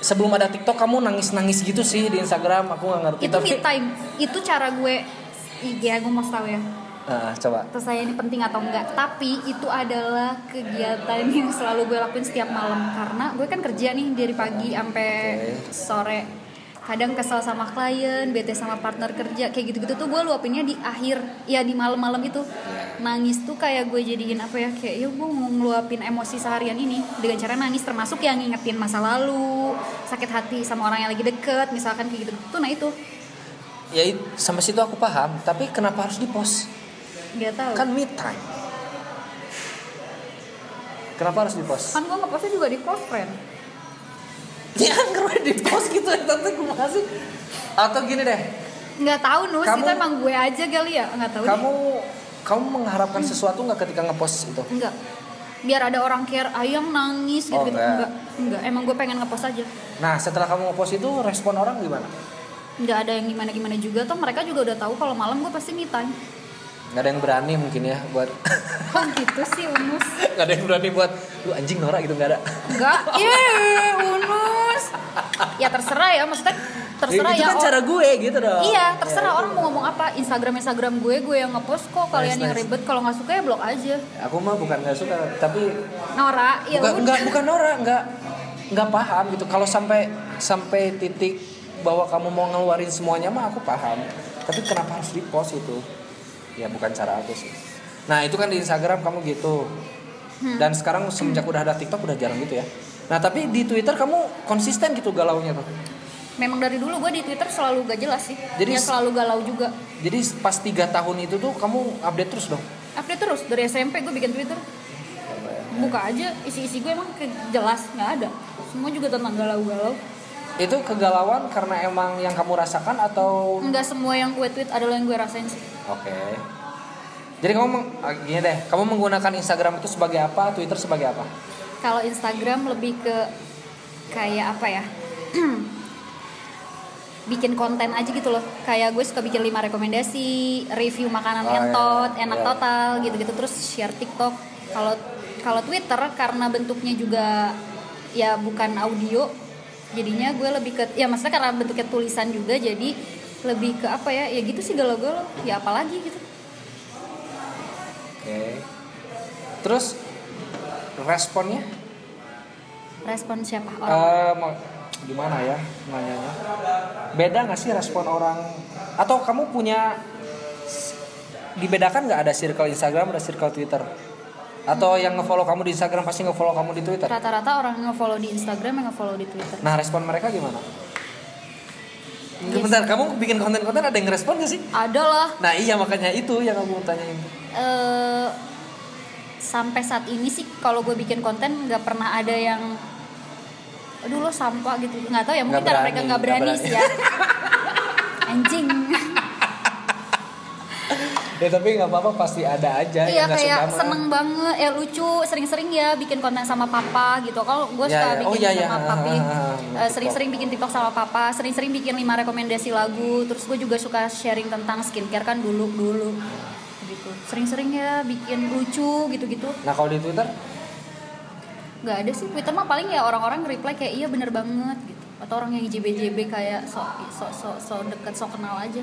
S1: Sebelum ada TikTok kamu nangis-nangis gitu sih di Instagram. Aku nggak ngerti.
S2: Itu me time. Itu cara gue Iya, gue mau tahu ya.
S1: Ah, coba.
S2: Terus saya ini penting atau enggak? Tapi itu adalah kegiatan yang selalu gue lakuin setiap malam karena gue kan kerja nih dari pagi sampai
S1: Oke.
S2: sore. Kadang kesel sama klien, bete sama partner kerja, kayak gitu-gitu tuh gue luapinnya di akhir, ya di malam-malam itu. Nangis tuh kayak gue jadiin apa ya? Kayak ya gue mau ngeluapin emosi seharian ini dengan cara nangis termasuk yang ngingetin masa lalu, sakit hati sama orang yang lagi deket, misalkan kayak gitu. Tuh nah itu.
S1: Ya it- sampai situ aku paham. Tapi kenapa harus di post?
S2: Gak tahu.
S1: kan me time kenapa harus di post
S2: kan gue ngepostnya juga di close friend
S1: ya kan kenapa di post gitu ya tante kumaha sih atau gini deh
S2: nggak tahu nus
S1: Kamu-
S2: itu emang gue aja kali ya nggak tahu
S1: kamu kamu mengharapkan sesuatu nggak ketika ngepost itu
S2: deh. enggak biar ada orang care ayang nangis gitu
S1: Oh,
S2: gitu
S1: enggak.
S2: enggak enggak emang gue pengen ngepost aja
S1: nah setelah kamu ngepost itu respon orang gimana
S2: nggak ada yang gimana gimana juga toh mereka juga udah tahu kalau malam gue pasti me time
S1: nggak ada yang berani mungkin ya buat [laughs]
S2: Kok gitu sih Unus?
S1: nggak ada yang berani buat lu anjing Nora gitu nggak ada
S2: Enggak, ye Iya, Unus Ya terserah ya, maksudnya terserah
S1: itu
S2: ya
S1: kan
S2: oh,
S1: cara gue gitu dong
S2: Iya, terserah orang mau ngomong apa Instagram Instagram gue, gue yang ngepost kok Kalian
S1: Nice,
S2: yang
S1: nice.
S2: ribet, kalau nggak suka ya blok aja
S1: aku mah bukan nggak suka tapi
S2: Nora, ya
S1: bukan
S2: udah
S1: nggak bukan Nora nggak nggak paham gitu kalau sampai sampai titik bahwa kamu mau ngeluarin semuanya mah aku paham tapi kenapa harus di post itu ya bukan cara aku sih nah itu kan di Instagram kamu gitu dan sekarang semenjak udah ada TikTok udah jarang gitu ya nah tapi di Twitter kamu konsisten gitu galaunya tuh
S2: Memang dari dulu gue di Twitter selalu gak jelas sih
S1: Jadi
S2: Ya
S1: s-
S2: selalu galau juga
S1: jadi pas tiga tahun itu tuh kamu update terus dong
S2: Update terus, dari SMP gue bikin Twitter Buka aja, isi-isi gue emang kayak jelas, nggak ada Semua juga tentang galau-galau
S1: itu kegalauan karena emang yang kamu rasakan atau
S2: Enggak semua yang gue tweet adalah yang gue rasain sih
S1: Oke. Jadi kamu meng, ah, gini deh, kamu menggunakan Instagram itu sebagai apa, Twitter sebagai apa?
S2: Kalau Instagram lebih ke kayak apa ya? [clears throat] bikin konten aja gitu loh. Kayak gue suka bikin 5 rekomendasi, review makanan
S1: Oh, iya,
S2: entot,
S1: iya.
S2: enak
S1: Iya.
S2: total gitu-gitu terus share TikTok. Kalau kalau Twitter karena bentuknya juga ya bukan audio, jadinya gue lebih ke ya maksudnya karena bentuknya tulisan juga jadi lebih ke apa ya? Ya gitu sih galau-galau. Ya apalagi gitu.
S1: Oke. Terus responnya
S2: Respon siapa? Orang.
S1: eh, mau- gimana ya nanyanya? Beda nggak sih respon orang? Atau kamu punya dibedakan nggak ada circle Instagram ada circle Twitter? Atau yang ngefollow kamu di Instagram pasti ngefollow kamu di Twitter?
S2: Rata-rata orang yang follow di Instagram yang follow di Twitter.
S1: Nah respon mereka gimana?
S2: Yes.
S1: Bentar, kamu bikin konten-konten ada yang respon gak sih?
S2: Ada lah.
S1: Nah iya makanya itu yang kamu tanyain.
S2: Eh, sampai saat ini sih kalau gue bikin konten nggak pernah ada yang aduh lo sampah gitu nggak tahu ya mungkin
S1: Nggak berani,
S2: karena mereka nggak
S1: nggak
S2: berani,
S1: berani.
S2: sih ya [laughs]
S1: [laughs]
S2: anjing
S1: ya tapi nggak apa-apa pasti ada aja
S2: iya
S1: yang nggak suka
S2: kayak
S1: mah.
S2: seneng banget ya lucu sering-sering ya bikin konten sama papa gitu kalau gue
S1: Ya,
S2: suka
S1: ya.
S2: bikin
S1: Oh, iya, iya.
S2: sama papi
S1: [laughs] Ah, ah, ah.
S2: Eh, sering-sering bikin tiktok sama papa sering-sering bikin lima rekomendasi lagu terus gue juga suka sharing tentang skincare kan dulu dulu gitu sering-sering ya bikin lucu gitu-gitu
S1: Nah kalau di Twitter
S2: nggak ada sih Twitter mah paling ya orang-orang reply kayak iya bener banget gitu atau orang yang JBJB kayak sok sok sok sok deket sok kenal aja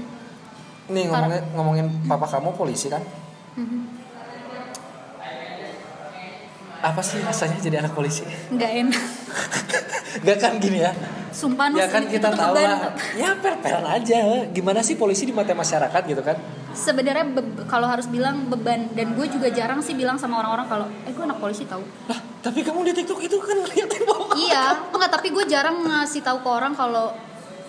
S1: nih ngomongin ngomongin papa kamu polisi kan?
S2: Mm-hmm.
S1: Apa sih rasanya jadi anak polisi? [laughs]
S2: nggak enak
S1: Gak kan gini ya?
S2: sumpah Nus,
S1: ya kan
S2: ini-
S1: kita
S2: itu tuh
S1: tahu
S2: beban.
S1: lah. Ya per-peran aja. Gimana sih polisi di mata masyarakat gitu kan?
S2: sebenarnya be- kalau harus bilang beban dan gue juga jarang sih bilang sama orang-orang kalau eh gue anak polisi tahu
S1: Lah tapi kamu di TikTok itu kan ngeliatin bapak.
S2: iya enggak tapi gue jarang ngasih tahu ke orang kalau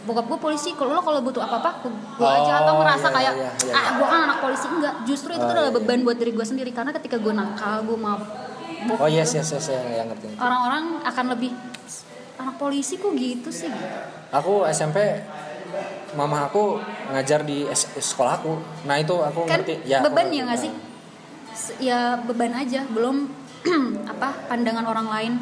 S2: bokap gue polisi kalau lo kalau butuh apa-apa gue aja
S1: Oh,
S2: atau ngerasa
S1: iya,
S2: kayak
S1: iya, iya,
S2: ah gue kan anak polisi enggak justru itu
S1: Oh,
S2: tuh adalah
S1: iya,
S2: beban buat diri gue sendiri karena ketika gue nakal gue mabok
S1: Oh yes yes yes yang, yang ngerti.
S2: orang-orang akan lebih anak polisi kok gitu sih gitu.
S1: Aku SMP mama aku ngajar di es- sekolah aku. Nah itu aku
S2: kan
S1: ngerti. aku
S2: beban ya
S1: ngerti.
S2: nggak sih Se- ya beban aja belum [clears throat] apa pandangan orang lain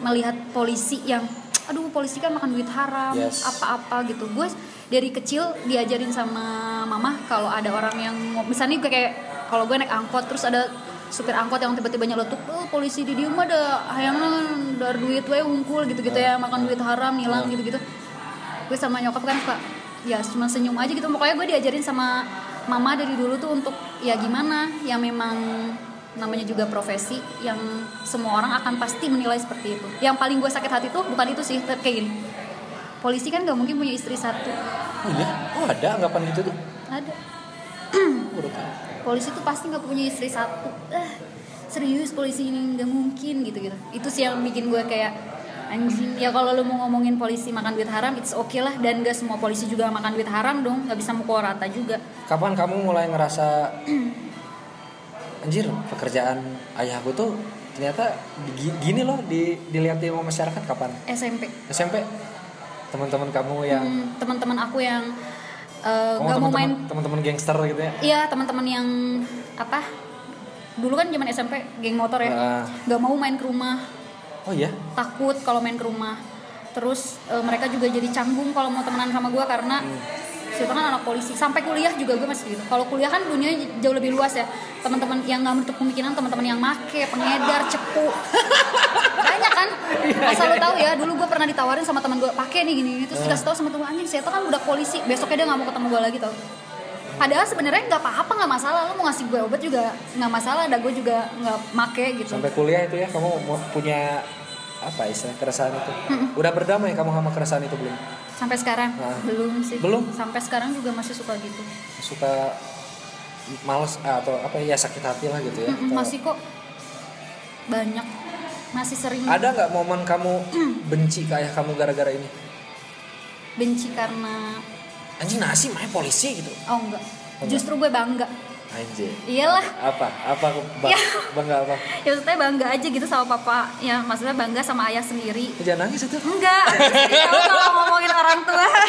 S2: melihat polisi yang aduh polisi kan makan duit haram
S1: Yes.
S2: apa-apa gitu gue dari kecil diajarin sama mama kalau ada orang yang misalnya gue kayak kalau gue naik angkot terus ada supir angkot yang tiba-tiba nyeletuk oh, polisi di dieu mah ada hayangna dar duit we unggul gitu-gitu
S1: Ah.
S2: ya makan duit haram nilang gitu-gitu gue sama nyokap kan suka ya cuma senyum aja gitu pokoknya gue diajarin sama mama dari dulu tuh untuk ya gimana yang memang namanya juga profesi yang semua orang akan pasti menilai seperti itu yang paling gue sakit hati tuh bukan itu sih tapi kayak gini polisi kan gak mungkin punya istri satu
S1: Oh iya? Oh ada anggapan gitu tuh?
S2: ada
S1: Aku baru tahu.
S2: polisi tuh pasti nggak punya istri satu eh, serius polisi ini nggak mungkin gitu gitu itu sih yang bikin gue kayak anjing ya kalau lu mau ngomongin polisi makan duit haram it's okay lah dan gak semua polisi juga makan duit haram dong nggak bisa mukul rata juga
S1: Kapan kamu mulai ngerasa anjir pekerjaan ayahku tuh ternyata di- gini loh di, dilihat sama masyarakat kapan?
S2: SMP
S1: SMP teman-teman kamu yang
S2: Hmm, teman-teman aku yang eh,
S1: kamu
S2: nggak mau
S1: teman-teman-
S2: main
S1: Oh, teman-teman gangster gitu ya?
S2: iya teman-teman yang apa dulu kan zaman SMP geng motor
S1: Ah.
S2: ya nggak mau main ke rumah
S1: Oh iya?
S2: takut e, kalau main ke rumah terus eh, mereka juga jadi canggung kalau mau temenan sama gue karena siapa kan anak polisi sampai kuliah juga gue masih gitu kalau kuliah kan dunia jauh lebih luas ya teman-teman yang nggak menutup kemungkinan teman-teman yang make pengedar cepu [laughs] banyak kan asal lo tahu ya dulu gue pernah ditawarin sama teman gue pakai nih gini, gini terus dikasih tahu sama temen anjing saya kan udah polisi besoknya dia nggak mau ketemu gue lagi tau padahal sebenarnya nggak apa-apa nggak masalah lo mau ngasih gue obat juga nggak masalah ada gue juga nggak make gitu
S1: sampai kuliah itu ya kamu mau punya apa istilah keresahan itu udah berdamai kamu sama keresahan itu belum
S2: sampai sekarang
S1: Nah.
S2: belum sih
S1: Belum?
S2: sampai sekarang juga masih suka gitu
S1: suka males ah, atau apa ya sakit hati lah gitu ya
S2: Mm-mm,
S1: Atau-
S2: masih kok banyak masih sering
S1: ada nggak momen kamu [clears throat] benci ke ayah kamu gara-gara ini
S2: benci karena
S1: anjing nasi mah polisi gitu
S2: oh enggak justru gue bangga
S1: anjing
S2: iyalah
S1: apa apa bang,
S2: Ya.
S1: bangga
S2: [laughs]
S1: apa
S2: ya maksudnya bangga aja gitu sama papa ya maksudnya bangga sama ayah sendiri
S1: jangan nangis itu [laughs]
S2: enggak aku sedih tau kalau ngomongin orang tua [laughs]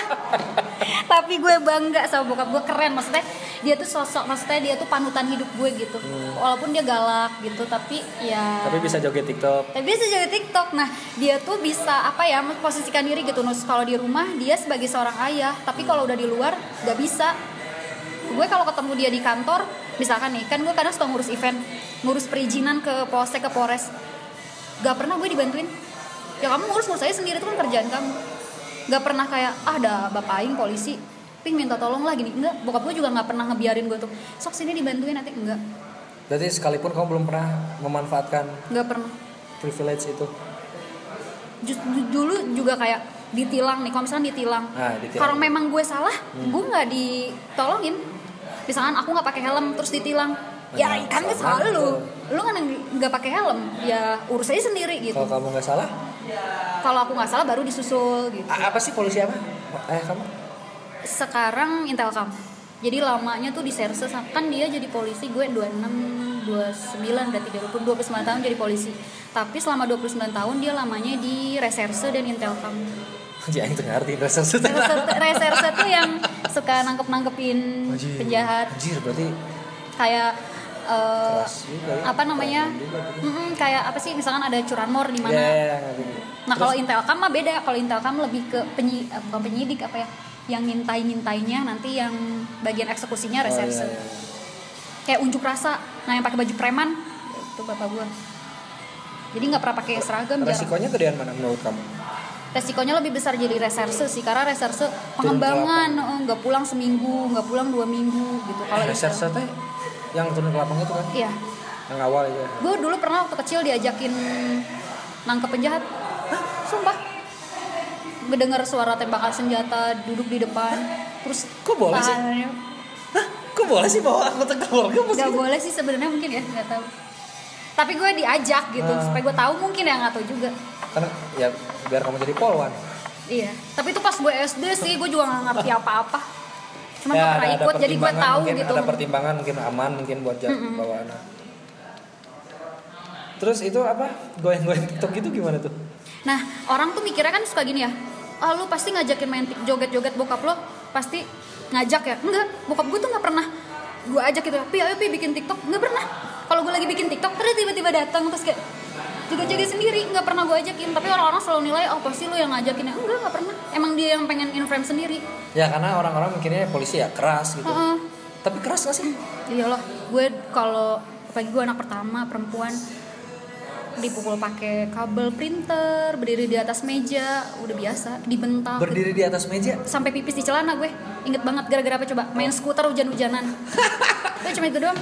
S2: tapi gue bangga sama bokap gue keren maksudnya dia tuh sosok maksudnya dia tuh panutan hidup gue gitu walaupun dia galak gitu tapi ya
S1: Hmm. tapi bisa joget tiktok
S2: tapi dia sejauh TikTok. Nah, dia tuh bisa apa ya, memposisikan diri gitu. Nus kalau di rumah dia sebagai seorang ayah, tapi kalau udah di luar nggak bisa. Gue kalau ketemu dia di kantor, misalkan nih, kan gue kadang suka ngurus event, ngurus perizinan ke polsek ke polres. Gak pernah gue dibantuin. Ya kamu ngurus ngurus saya sendiri itu kan kerjaan kamu. Gak pernah kayak ah ada bapak aing polisi, ping minta tolong lah gini. Enggak, bokap gue juga nggak pernah ngebiarin gue tuh. Sok sini dibantuin nanti enggak,
S1: berarti sekalipun kamu belum pernah memanfaatkan
S2: nggak pernah.
S1: privilege itu
S2: Just- ju- dulu juga kayak ditilang nih kalau misalnya ditilang,
S1: Ah, ditilang. Hmm.
S2: kalau memang gue salah gue nggak ditolongin misalkan aku nggak pakai helm terus ditilang ya
S1: Benar,
S2: kan
S1: salah
S2: salah lu
S1: banget.
S2: lu kan yang nggak pakai helm ya urus aja sendiri gitu
S1: kalau kamu nggak salah
S2: kalau aku nggak salah baru disusul gitu
S1: a- apa sih polisi apa ayah kamu [laughs]
S2: sekarang intelcam jadi lamanya tuh di serse kan dia jadi polisi gue 26 29 berarti 20 29 tahun jadi polisi tapi selama 29 tahun dia lamanya di reserse dan intelcam
S1: jangan Ya, itu ngerti rasa setelah
S2: reserse reserse tuh yang suka nangkep nangkepin penjahat
S1: anjir berarti
S2: kayak eh,
S1: keras juga ya.
S2: apa namanya
S1: Keras juga.
S2: Mm-mm, kayak apa sih misalkan ada curanmor di
S1: Ya,
S2: mana
S1: ya, ya, ngerti.
S2: nah kalau intelkam mah beda kalau intelkam lebih ke penyi eh, bukan penyidik apa ya yang ngintai ngintainya nanti yang bagian eksekusinya
S1: Oh, ya,
S2: reserse
S1: ya.
S2: kayak unjuk rasa nah yang pakai baju preman itu bapak gua jadi nggak pernah pakai seragam jarang.
S1: resikonya gedean mana menurut kamu
S2: resikonya lebih besar jadi reserse sih karena reserse pengembangan eh, nggak pulang seminggu nggak pulang dua minggu gitu kalau
S1: reserse teh yang turun ke lapang itu kan
S2: iya
S1: yang awal itu ya.
S2: gue dulu pernah waktu kecil diajakin nangkep penjahat sumpah mendengar suara tembakan senjata duduk di depan terus
S1: Kok boleh sih?
S2: tangannya-
S1: Hah? Kok boleh sih bawa anggota keluarga mesti?
S2: nggak boleh sih sebenarnya mungkin ya nggak tahu tapi gue diajak gitu
S1: Ah.
S2: supaya gue tahu mungkin ya nggak tahu juga
S1: Karena ya biar kamu jadi polwan.
S2: Iya, tapi itu pas gue SD sih gue juga gak ngerti apa-apa. Cuma
S1: Ya,
S2: gak pernah ikut jadi gue
S1: pertimbangan
S2: tahu
S1: mungkin
S2: gitu.
S1: Ada pertimbangan mungkin aman mungkin buat jat- bawa anak. Terus itu apa? Goyang-goyang TikTok itu gimana tuh?
S2: Nah, orang tuh mikirnya kan suka gini ya. Ah, lu pasti ngajakin main tik- joget-joget bokap lo, pasti ngajak ya. Enggak, bokap gue tuh gak pernah gue ajak gitu. Pi, ayo Pi bikin TikTok. Enggak pernah. Kalau gue lagi bikin TikTok, terus tiba-tiba datang terus kayak joget-joget sendiri, nggak pernah gue ajakin. Tapi orang-orang selalu nilai, oh pasti lu yang ngajakin ya. Enggak, nggak pernah. Emang dia yang pengen inframe sendiri.
S1: Ya karena orang-orang mikirnya polisi ya keras gitu.
S2: Heeh.
S1: Tapi keras gak sih?
S2: iyalah gue kalau apalagi gue anak pertama perempuan dipukul pakai kabel printer berdiri di atas meja udah biasa dibentak
S1: Berdiri di atas meja.
S2: sampai pipis di celana gue inget banget gara-gara apa coba main skuter hujan-hujanan gue cuma itu doang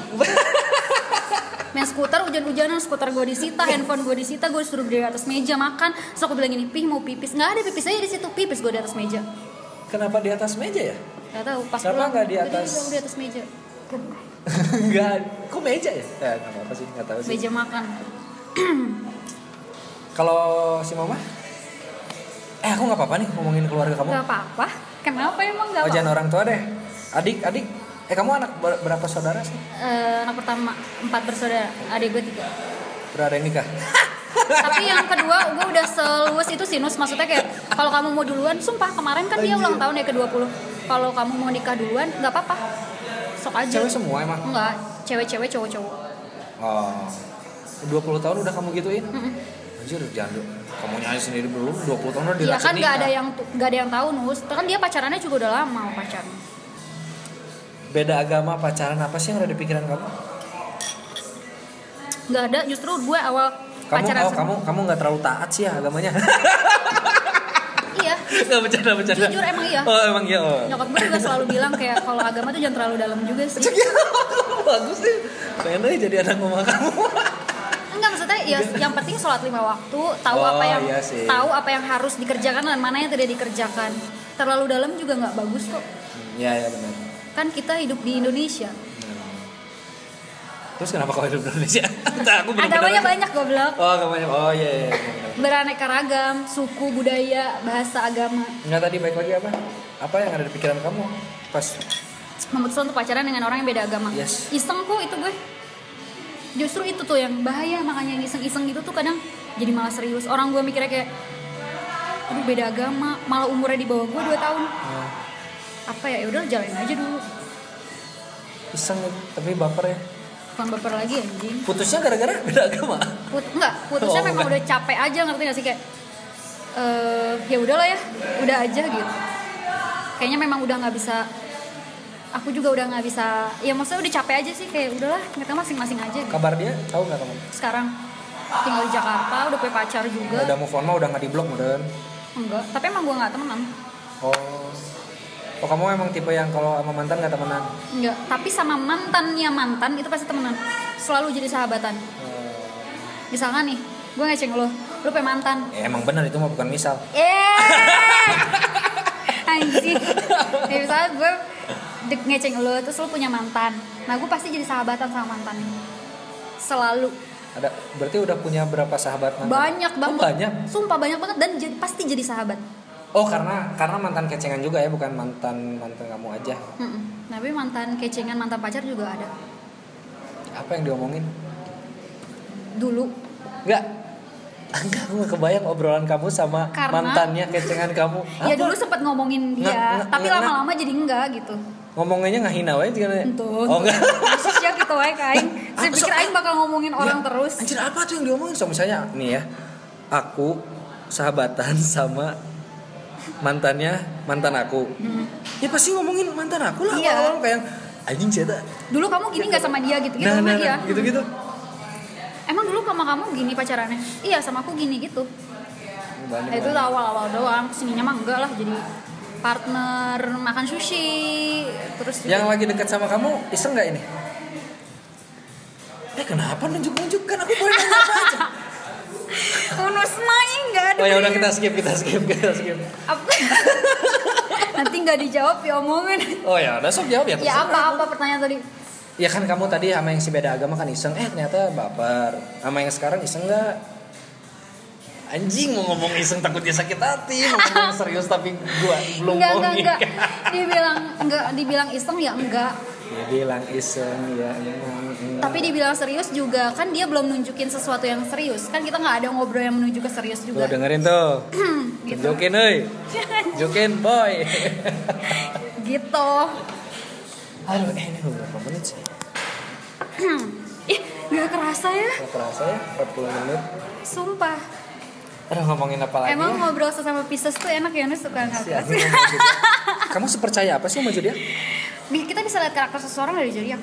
S2: main skuter hujan-hujanan skuter gue disita handphone gue disita gue disuruh berdiri di atas meja makan terus aku bilang gini pih mau pipis nggak ada pipis aja di situ pipis gue di atas meja
S1: Kenapa di atas meja ya? [laughs]
S2: nggak tahu pas
S1: Kenapa
S2: pulang
S1: nggak di
S2: gue
S1: atas?
S2: dibilang di atas meja
S1: Enggak. Kok meja ya? Ya nggak apa-apa sih, nggak tahu sih.
S2: meja makan
S1: Kalau si Mama? Eh aku nggak apa-apa nih ngomongin keluarga kamu.
S2: Gak apa-apa. Kenapa emang
S1: Oh,
S2: gak apa-apa?
S1: jangan orang tua deh. Adik, adik. Eh kamu anak ber- berapa saudara sih?
S2: Eh, anak pertama empat bersaudara, adik gue tiga.
S1: Berapa yang nikah?
S2: Tapi yang kedua gue udah seluas itu sinus. Maksudnya kayak kalau kamu mau duluan, sumpah kemarin kan dia ulang tahun ya ke 20 Kalau kamu mau nikah duluan, nggak apa-apa. Sok aja.
S1: Cewek semua emang.
S2: Enggak, cewek-cewek cowok-cowok.
S1: Oh. 20 tahun udah kamu gituin?
S2: Mm-mm.
S1: Anjir, jangan dong. Kamu nyanyi sendiri belum 20 tahun udah
S2: Iya
S1: dirasain
S2: kan nggak ada
S1: nikah.
S2: yang nggak ada yang tahu nus. Kan dia pacarannya juga udah lama pacaran.
S1: beda agama pacaran apa sih yang ada di pikiran kamu?
S2: nggak ada justru gue awal
S1: Kamu
S2: pacaran
S1: oh,
S2: sama-
S1: kamu kamu nggak terlalu taat sih ya agamanya. [laughs]
S2: iya
S1: Nggak bercanda bercanda.
S2: Jujur, emang iya.
S1: Oh emang iya. Oh.
S2: nyokap gue juga selalu bilang kayak kalau agama tuh jangan terlalu dalam juga sih
S1: [laughs] Bagus sih. Pengen aja jadi anak mama kamu. [laughs]
S2: enggak maksudnya ya yang penting sholat lima waktu tahu
S1: Oh,
S2: apa yang
S1: iya sih.
S2: tahu apa yang harus dikerjakan dan mana yang tidak dikerjakan terlalu dalam juga nggak bagus kok
S1: Iya ya benar.
S2: kan kita hidup di Indonesia
S1: Terus kenapa kau hidup di Indonesia? [laughs] Bentar, aku
S2: agamanya ya banyak goblok
S1: Oh agamanya. Oh iya iya. iya.
S2: beraneka ragam suku budaya bahasa agama
S1: Enggak tadi baik lagi apa? Apa yang ada di pikiran kamu? Pas
S2: memutuskan untuk pacaran dengan orang yang beda agama
S1: Yes.
S2: iseng kok itu gue justru itu tuh yang bahaya makanya yang iseng-iseng gitu tuh kadang jadi malah serius orang gue mikirnya kayak aduh beda agama malah umurnya di bawah gue 2 tahun
S1: eh,
S2: apa ya udah jalanin aja dulu
S1: iseng tapi baper ya.
S2: bukan baper lagi anjing
S1: Putusnya gara-gara [laughs] beda agama.
S2: Put enggak putusnya
S1: Oh,
S2: memang
S1: enggak.
S2: udah capek aja ngerti gak sih kayak eh ya udahlah ya udah aja gitu kayaknya memang udah nggak bisa aku juga udah nggak bisa ya maksudnya udah capek aja sih kayak udahlah mereka masing-masing aja gitu
S1: Kabar dia tahu nggak kamu?
S2: sekarang tinggal di Jakarta udah punya pacar juga
S1: Udah move on mah udah nggak di blok modern.
S2: enggak tapi emang gue nggak temenan
S1: Oh. Oh kamu emang tipe yang kalau sama mantan nggak temenan?
S2: enggak tapi sama mantannya mantan itu pasti temenan selalu jadi sahabatan misalkan nih gue ngeceng lo lo punya mantan
S1: Eh, emang benar itu mah bukan misal.
S2: Yeah. Eh! Anjing. Kayak misalnya gue dek ngeceng lo terus lo punya mantan. Nah, gue pasti jadi sahabatan sama mantan. Selalu
S1: Ada berarti udah punya berapa sahabat mantan?
S2: banyak
S1: Oh,
S2: banget.
S1: banyak.
S2: Sumpah banyak banget dan jadi, pasti jadi sahabat.
S1: Oh karena karena mantan kecengan juga ya bukan mantan mantan kamu aja.
S2: Mm-mm. Tapi mantan kecengan mantan pacar juga ada.
S1: Apa yang diomongin?
S2: Dulu
S1: Enggak. Enggak, gue nggak kebayang obrolan kamu sama
S2: Karena-
S1: mantannya kecengan kamu.
S2: ya
S1: Apa?
S2: dulu sempet ngomongin dia,
S1: Nggak- nggak-
S2: tapi
S1: nggak-
S2: lama-lama jadi enggak gitu.
S1: Ngomonginnya nggak hina wae juga.
S2: Entuh.
S1: Oh enggak.
S2: Maksudnya gitu aja kain. Saya
S1: Aku
S2: pikir
S1: suka-
S2: aing bakal ngomongin orang
S1: Ya,
S2: terus.
S1: Anjir apa tuh yang diomongin? So misalnya nih ya, aku sahabatan [laughs] sama mantannya mantan aku. Ya pasti ngomongin mantan aku lah.
S2: Hmm. Iya.
S1: Orang kayak anjing cerita.
S2: Dulu kamu gini nggak sama dia gitu gitu
S1: Nah,
S2: sama
S1: nah,
S2: dia.
S1: nah, gitu-gitu.
S2: Emang dulu sama kamu gini pacarannya? Iya sama aku gini gitu.
S1: Banding,
S2: itu
S1: banding.
S2: awal-awal doang. Sininya mah enggak lah jadi partner makan sushi terus
S1: Yang
S2: juga
S1: lagi dekat sama kamu iseng nggak ini? Eh kenapa nunjuk-nunjuk kan aku boleh nanya apa
S2: [laughs]
S1: aja.
S2: Unus main enggak ada.
S1: Oh ya udah
S2: beliau.
S1: kita skip, kita skip, kita skip.
S2: Apa? [laughs] Nanti nggak dijawab ya omongan.
S1: Oh ya udah sok jawab ya.
S2: ya
S1: terserah.
S2: apa-apa pertanyaan tadi.
S1: Ya kan kamu tadi sama yang si beda agama kan iseng, eh ternyata baper. Sama yang sekarang iseng nggak? Anjing mau ngomong iseng takut dia sakit hati, mau ngomong serius tapi gua belum
S2: Enggak,
S1: mau
S2: enggak, enggak.
S1: nikah.
S2: Dibilang enggak, dibilang iseng ya enggak.
S1: Dia bilang iseng ya emang. enggak.
S2: Tapi dibilang serius juga kan dia belum nunjukin sesuatu yang serius. Kan kita nggak ada ngobrol yang menuju ke serius
S1: Tuh
S2: juga.
S1: dengerin tuh.
S2: [clears throat] gitu.
S1: Jokin
S2: [laughs]
S1: euy. Jokin boy. [laughs]
S2: gitu. [clears throat]
S1: Aduh, eh ini udah berapa menit sih?
S2: Ih, nggak kerasa ya.
S1: Gak kerasa ya, 40 menit.
S2: Sumpah.
S1: Aduh ngomongin apa lagi? ya?
S2: Emang ngobrol sesama Pisces tuh enak ya, Nus suka
S1: Si
S2: ngapa
S1: Azmi
S2: sih?
S1: ngomong juga. Kamu sepercaya apa sih sama dia?
S2: Bi- Kita bisa lihat karakter seseorang dari zodiak.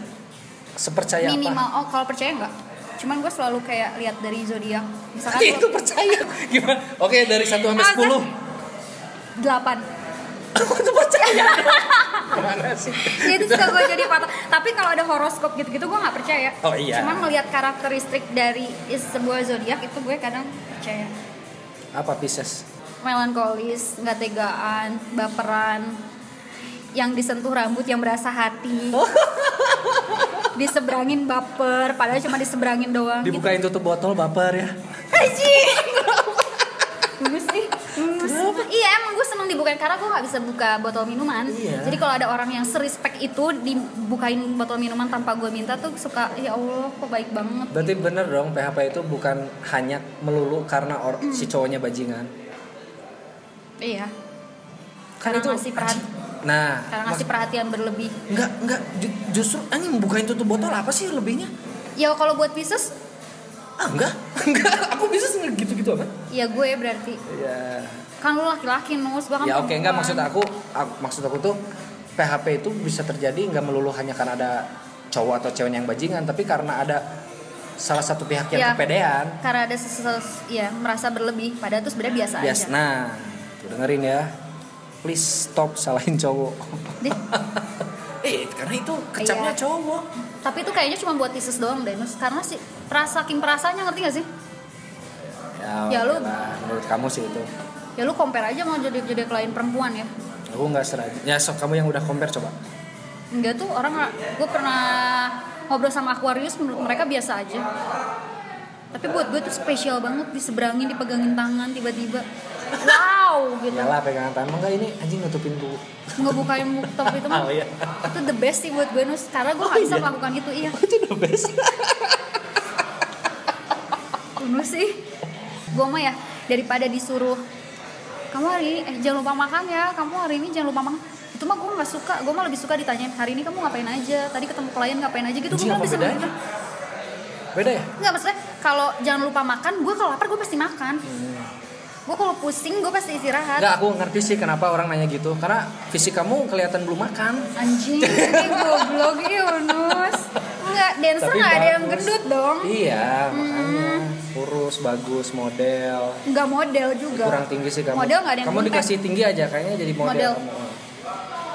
S1: Sepercaya
S2: Minimal, oh kalau percaya nggak? Cuman gue selalu kayak lihat dari zodiak.
S1: apa?
S2: Misalkan
S1: [laughs] Itu
S2: gue
S1: percaya. Gimana? Oke, dari 1 sampai
S2: Ah,
S1: 10.
S2: delapan. [laughs]
S1: Aku tuh percaya Gimana sih?
S2: kan? Ya, itu suka gue jadi patah. Tapi kalau ada horoskop gitu-gitu gue nggak percaya.
S1: Oh, iya.
S2: Cuman melihat karakteristik dari is- sebuah zodiak itu gue kadang percaya.
S1: Apa Pisces?
S2: Melankolis, nggak tegaan, baperan, yang disentuh rambut yang berasa hati.
S1: Oh. [laughs]
S2: diseberangin baper, padahal cuma diseberangin doang.
S1: Dibukain tutup botol baper ya.
S2: Anjing. Bagus nih. Bagus. Iya emang gue seneng dibukain karena gue nggak bisa buka botol minuman.
S1: Iya.
S2: Jadi kalau ada orang yang serespek itu dibukain botol minuman tanpa gue minta tuh suka ya Allah kok baik banget.
S1: Berarti bener dong PHP itu bukan hanya melulu karena or- si cowoknya bajingan.
S2: Iya.
S1: Kan
S2: Karena
S1: itu
S2: ngasih perhati-
S1: Nah,
S2: Karena ngasih perhatian berlebih.
S1: mak- enggak enggak ju- justru anjing bukain tutup botol apa sih lebihnya?
S2: Ya kalau buat Pisces
S1: Ah, enggak. [laughs] Enggak, aku bisa gitu-gitu kan? amat.
S2: ya gue berarti
S1: Iya.
S2: kan lu laki-laki nus bahkan
S1: Ya oke enggak maksud aku, aku- maksud aku tuh PHP itu bisa terjadi nggak melulu hanya karena ada cowok atau cewek yang bajingan, tapi karena ada salah satu pihak yang
S2: Iya.
S1: kepedean.
S2: karena ada sesuatu ya merasa berlebih padahal itu sebenarnya biasa
S1: Bias.
S2: aja
S1: Nah, tuh dengerin ya. Please stop salahin cowok. [laughs]
S2: Deh,
S1: eh, karena itu
S2: kecapnya Iya.
S1: cowok.
S2: tapi itu kayaknya cuma buat tesis doang deh Nus karena sih perasa saking perasanya ngerti gak sih
S1: Ya,
S2: Ya, lu-
S1: udahlah. menurut kamu sih itu.
S2: ya lu compare aja mau jadi jadi klien perempuan ya
S1: Aku nggak seragam. Ya, sok kamu yang udah compare coba.
S2: enggak tuh orang gue pernah ngobrol sama Aquarius menurut mereka biasa aja tapi buat gue tuh spesial banget diseberangin dipegangin tangan tiba-tiba wow gitu
S1: Iyalah pegangan tangan enggak ini anjing nutupin buku.
S2: ngebukain muktop itu mah
S1: Oh, iya.
S2: itu the best sih buat gue Nus karena
S1: Oh,
S2: gue gak bisa melakukan itu iya
S1: [laughs] Itu the best.
S2: Kuno sih. Gue mah ya daripada disuruh kamu hari ini eh jangan lupa makan ya. Kamu hari ini jangan lupa makan. Itu mah gue nggak suka. Gue mah lebih suka ditanyain hari ini kamu ngapain aja. Tadi ketemu klien ngapain aja gitu. Gue
S1: Anjing,
S2: mah
S1: apa
S2: bisa
S1: bedanya? Beda ya?
S2: Enggak maksudnya kalau jangan lupa makan. Gue kalau lapar gue pasti makan.
S1: Hmm.
S2: Gue kalau pusing gue pasti istirahat.
S1: Enggak, aku ngerti sih kenapa orang nanya gitu. Karena fisik kamu kelihatan belum makan.
S2: Anjing, ini goblok ya, Yunus. Enggak, dancer
S1: Tapi
S2: nggak ada yang
S1: bagus.
S2: gendut dong. Hmm.
S1: Iya, makanya kurus, bagus, model.
S2: Enggak model juga.
S1: Kurang tinggi sih kamu.
S2: Model nggak ada yang
S1: kamu
S2: kontak.
S1: dikasih tinggi aja kayaknya jadi model.
S2: Model.
S1: kamu.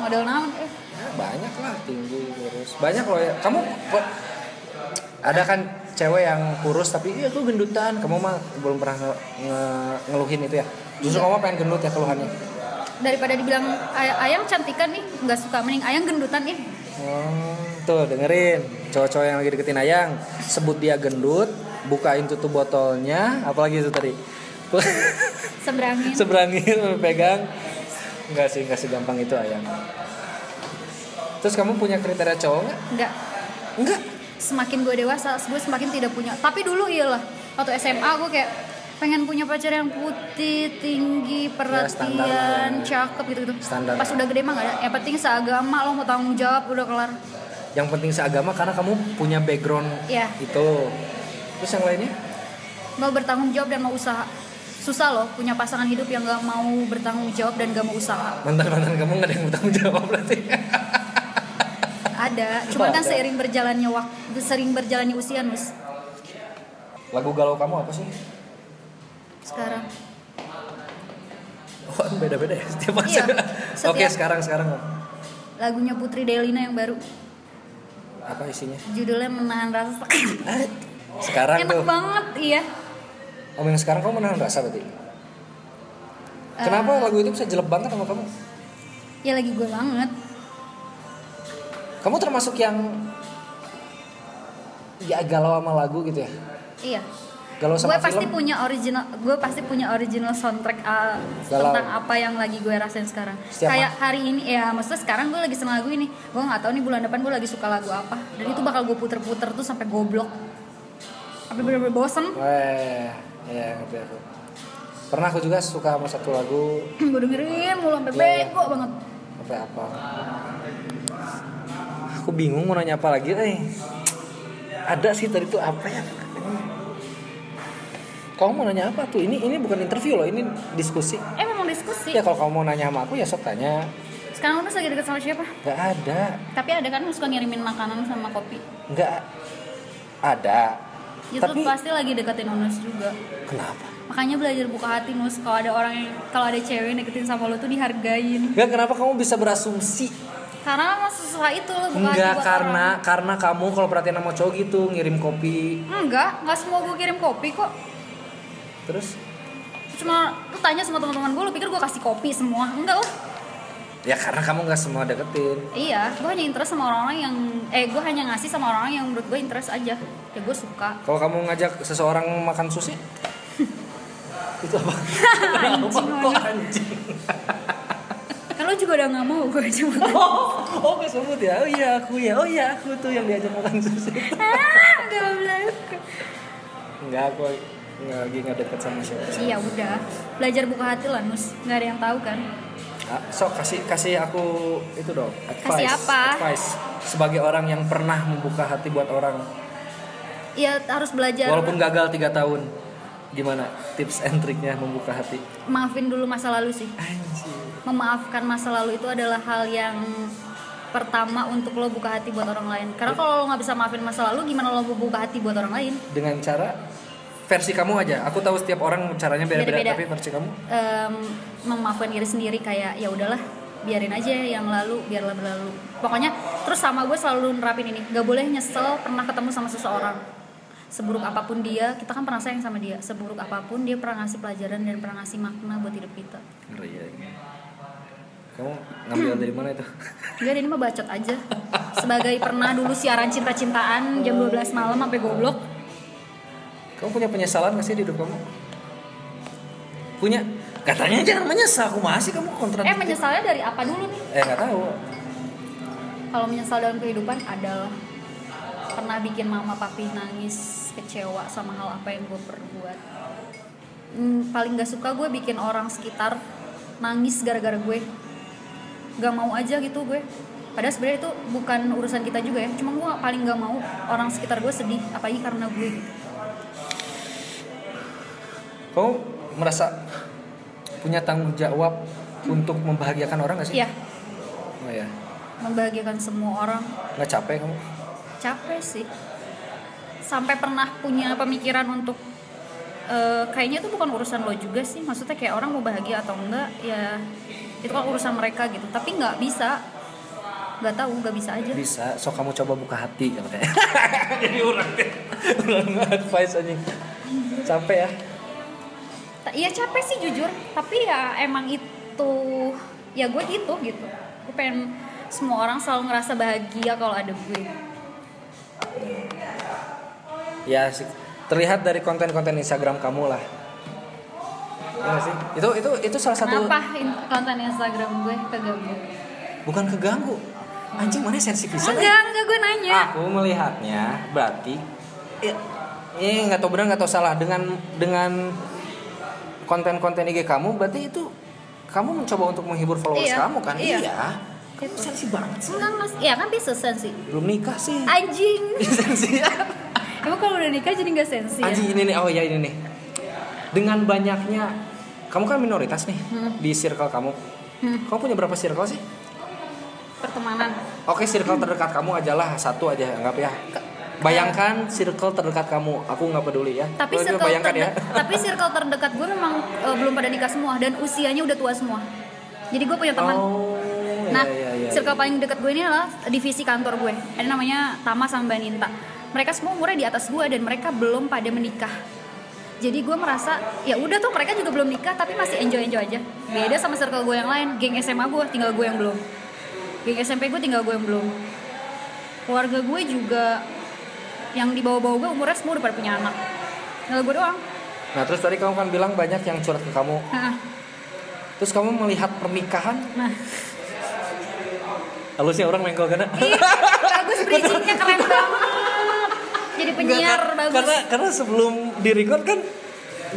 S2: Model naon? Eh,
S1: Ya, banyak lah tinggi kurus. Banyak loh ya. Kamu kok ada kan cewek yang kurus tapi iya tuh gendutan. Kamu mah belum pernah nge- nge- ngeluhin itu ya.
S2: Iya.
S1: Justru kamu pengen gendut ya keluhannya.
S2: daripada dibilang "Ay- ayang cantikan nih nggak suka mending ayang gendutan nih
S1: Oh, tuh dengerin cowok-cowok yang lagi deketin Ayang sebut dia gendut bukain tutup botolnya apalagi itu tadi [laughs]
S2: seberangin
S1: seberani pegang nggak sih nggak segampang itu Ayang terus kamu punya kriteria cowok nggak
S2: nggak
S1: nggak
S2: semakin gue dewasa gue semakin tidak punya tapi dulu iyalah waktu SMA gue kayak pengen punya pacar yang putih tinggi
S1: standar lah
S2: perhatian
S1: ya.
S2: cakep gitu gitu
S1: Standar.
S2: pas udah gede mah nggak ada yang penting seagama lo mau tanggung jawab udah kelar
S1: yang penting seagama karena kamu punya background
S2: Iya.
S1: itu terus yang lainnya
S2: mau bertanggung jawab dan mau usaha susah loh punya pasangan hidup yang gak mau bertanggung jawab dan gak mau usaha
S1: mantan mantan kamu nggak ada yang bertanggung jawab berarti [laughs]
S2: ada cuma kan
S1: Ada.
S2: seiring berjalannya waktu sering berjalannya usia nus
S1: lagu galau kamu apa sih
S2: sekarang
S1: oh beda beda ya setiap
S2: Iya,
S1: masa
S2: setiap-
S1: oke sekarang sekarang
S2: lagunya Putri Delina yang baru
S1: apa isinya
S2: judulnya menahan rasa [clears throat]
S1: sekarang
S2: enak
S1: tuh
S2: banget Eh. iya
S1: Om yang sekarang kamu menahan rasa berarti? Kenapa lagu itu bisa jelek banget sama kamu?
S2: ya lagi gue banget
S1: Kamu termasuk yang ya galau sama lagu gitu ya?
S2: iya
S1: Galau
S2: gue
S1: sama
S2: pasti
S1: film?
S2: punya original gue pasti punya original soundtrack uh,
S1: Galau.
S2: tentang apa yang lagi gue rasain sekarang
S1: Setiap
S2: kayak hari ini ya maksudnya sekarang gue lagi seneng lagu ini gue nggak tahu nih bulan depan gue lagi suka lagu apa dan itu bakal gue puter-puter tuh sampai goblok sampai bener-bener bosen [laughs]
S1: Weh, ya ngerti aku. Pernah aku juga suka sama satu lagu
S2: gue dengerin mulu sampai
S1: Iya, iya.
S2: bego banget
S1: apa ya, apa. Aku bingung mau nanya apa lagi eh. Ada sih tadi tuh apa ya? Kamu mau nanya apa tuh? Ini ini bukan interview loh, ini diskusi.
S2: eh memang diskusi
S1: Ya kalau kamu mau nanya sama aku ya sok tanya.
S2: sekarang lu lagi deket sama siapa
S1: Gak ada,
S2: tapi ada kan yang suka ngirimin makanan sama kopi
S1: gak ada.
S2: itu
S1: Tapi
S2: pasti lagi deketin Unus juga
S1: kenapa?
S2: makanya belajar buka hati nus kalau ada orang yang kalau ada cewek yang deketin sama lo tuh dihargain
S1: Gak kenapa kamu bisa berasumsi?
S2: karena emang sesusah itu lo buka hati
S1: Enggak
S2: buat
S1: karena karena kamu kalau perhatian sama cowok gitu ngirim kopi
S2: orang. enggak enggak semua gue kirim kopi kok
S1: terus
S2: cuma lu tanya sama teman-teman gue lu pikir gue kasih kopi semua enggak oh. lah
S1: ya karena kamu nggak semua deketin.
S2: iya gue hanya interest sama orang-orang yang eh gue hanya ngasih sama orang-orang yang menurut gue interest aja ya gue suka
S1: Kalau kamu ngajak seseorang makan
S2: [laughs]
S1: sushi itu apa?
S2: Anjing,
S1: Kok anjing?
S2: kan lo juga udah nggak mau gue cuma
S1: [laughs] Oh, oh kesebut ya. Oh iya aku ya. Oh iya aku tuh yang diajak makan sushi.
S2: [laughs] ah goblok
S1: Enggak aku nggak lagi nggak deket sama siapa.
S2: iya udah belajar buka hati lah nus nggak ada yang tahu kan
S1: Ah, Sok kasih kasih aku itu dong advice.
S2: Kasih apa?
S1: Advice sebagai orang yang pernah membuka hati buat orang
S2: Iya harus belajar
S1: walaupun gagal tiga tahun. Gimana tips and triknya membuka hati?
S2: maafin dulu masa lalu sih
S1: Anjir.
S2: memaafkan masa lalu itu adalah hal yang pertama untuk lo buka hati buat orang lain karena kalau lo nggak bisa maafin masa lalu gimana lo mau buka hati buat orang lain
S1: dengan cara versi kamu aja. Aku tahu setiap orang caranya
S2: Beda-beda.
S1: beda-beda, tapi versi kamu
S2: Em, memaafkan diri sendiri kayak ya udahlah biarin aja yang lalu biarlah berlalu pokoknya terus sama gue selalu nerapin ini gak boleh nyesel pernah ketemu sama seseorang seburuk apapun dia kita kan pernah sayang sama dia seburuk apapun dia pernah ngasih pelajaran dan pernah ngasih makna buat hidup kita
S1: ngeri ya. ini. Kamu ngambil dari mana itu? [laughs]
S2: Gak ini mah bacot aja Sebagai pernah dulu siaran cinta-cintaan Jam 12 malam sampai goblok
S1: Kamu punya penyesalan gak sih di hidup kamu? Punya? Katanya jangan menyesal, aku masih kamu kontrak.
S2: Eh menyesalnya dari apa dulu nih?
S1: eh nggak tahu.
S2: Kalau menyesal dalam kehidupan adalah Pernah bikin mama papi nangis Kecewa sama hal apa yang gue perbuat Hmm, Paling gak suka gue bikin orang sekitar Nangis gara-gara gue Gak mau aja gitu gue Padahal sebenarnya itu bukan urusan kita juga ya Cuma gue paling gak mau orang sekitar gue sedih Apalagi karena gue gitu
S1: Kamu merasa punya tanggung jawab untuk membahagiakan orang gak sih?
S2: Iya
S1: Oh ya.
S2: Membahagiakan semua orang
S1: Nggak capek kamu?
S2: capek sih sampai pernah punya pemikiran untuk eh, kayaknya itu bukan urusan lo juga sih maksudnya kayak orang mau bahagia atau enggak ya itu kan urusan mereka gitu tapi nggak bisa nggak tahu nggak bisa aja
S1: Bisa, so kamu coba buka hati kalau kayak. [laughs] Jadi orang teh orang advice anjing. Capek ya.
S2: Ta- iya capek sih jujur tapi ya emang itu ya gue gitu gitu gue pengen semua orang selalu ngerasa bahagia kalau ada gue
S1: Ya sih. Terlihat dari konten-konten Instagram kamu lah. Iya nggak sih? Itu itu itu salah satu
S2: kenapa in- konten Instagram gue keganggu
S1: bukan keganggu. Anjing mana sensitif pisan, eh?
S2: enggak enggak gue nanya
S1: Aku melihatnya berarti
S2: Ya.
S1: eh, ini nggak tahu benar nggak tahu salah dengan dengan konten-konten IG kamu berarti itu kamu mencoba untuk menghibur followers
S2: Iya,
S1: kamu kan?
S2: iya.
S1: Kamu sensi banget sih.
S2: enggak mas ya kan bisa sensi
S1: Belum nikah sih. [laughs]
S2: anjing Iya.
S1: sensi.
S2: Emang kalau udah nikah jadi nggak sensi ya?
S1: Anjing ini nih. Oh ya ini nih. Dengan banyaknya kamu kan minoritas nih di circle kamu.
S2: Hmm.
S1: Kamu punya berapa circle sih?
S2: Pertemanan.
S1: Oke, circle terdekat kamu ajalah satu aja anggap ya. Bayangkan circle terdekat kamu, aku nggak peduli ya.
S2: Tapi
S1: Lo juga
S2: circle
S1: bayangkan ya.
S2: terde- tapi circle terdekat gue memang eh, belum pada nikah semua dan usianya udah tua semua. Jadi gue punya teman.
S1: Oh.
S2: nah,
S1: iya, iya, iya.
S2: circle paling dekat gue ini adalah divisi kantor gue. Ada namanya Tama sama Mbak Ninta. Mereka semua umurnya di atas gue dan mereka belum pada menikah. Jadi gue merasa ya udah tuh mereka juga belum nikah tapi masih enjoy enjoy aja. Beda sama circle gue yang lain. Geng SMA gue tinggal gue yang belum. Geng SMP gue tinggal gue yang belum. Keluarga gue juga yang di bawah-bawah gue umurnya semua udah pada punya anak. Tinggal gue doang.
S1: Nah, terus tadi kamu kan bilang banyak yang curhat ke kamu.
S2: Hah.
S1: Terus kamu melihat pernikahan, [laughs]
S2: Nah,
S1: halusnya orang menggol karena [laughs]
S2: ih, bagus bridgingnya keren banget. Jadi penyiar
S1: Nggak,
S2: bagus.
S1: Karena karena sebelum direcord kan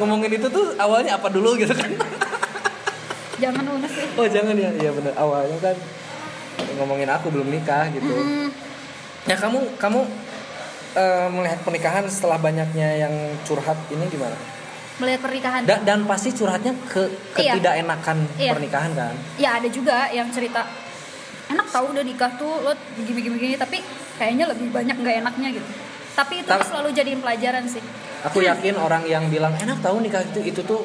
S1: ngomongin itu tuh awalnya apa dulu gitu kan.
S2: Jangan lunas sih.
S1: [laughs] Oh, jangan ya. Iya bener Awalnya kan ngomongin aku belum nikah gitu.
S2: Hmm,
S1: Ya kamu kamu eh, melihat pernikahan setelah banyaknya yang curhat ini gimana?
S2: melihat pernikahan.
S1: Da- dan pasti curhatnya ke
S2: Iya.
S1: ketidakenakan
S2: Iya.
S1: pernikahan kan?
S2: ya ada juga yang cerita enak tau udah nikah tuh lo begini-begini tapi kayaknya lebih banyak nggak enaknya gitu. Tapi itu
S1: Tapi-
S2: selalu jadiin pelajaran sih.
S1: Aku yakin orang yang bilang enak tahu nikah itu itu tuh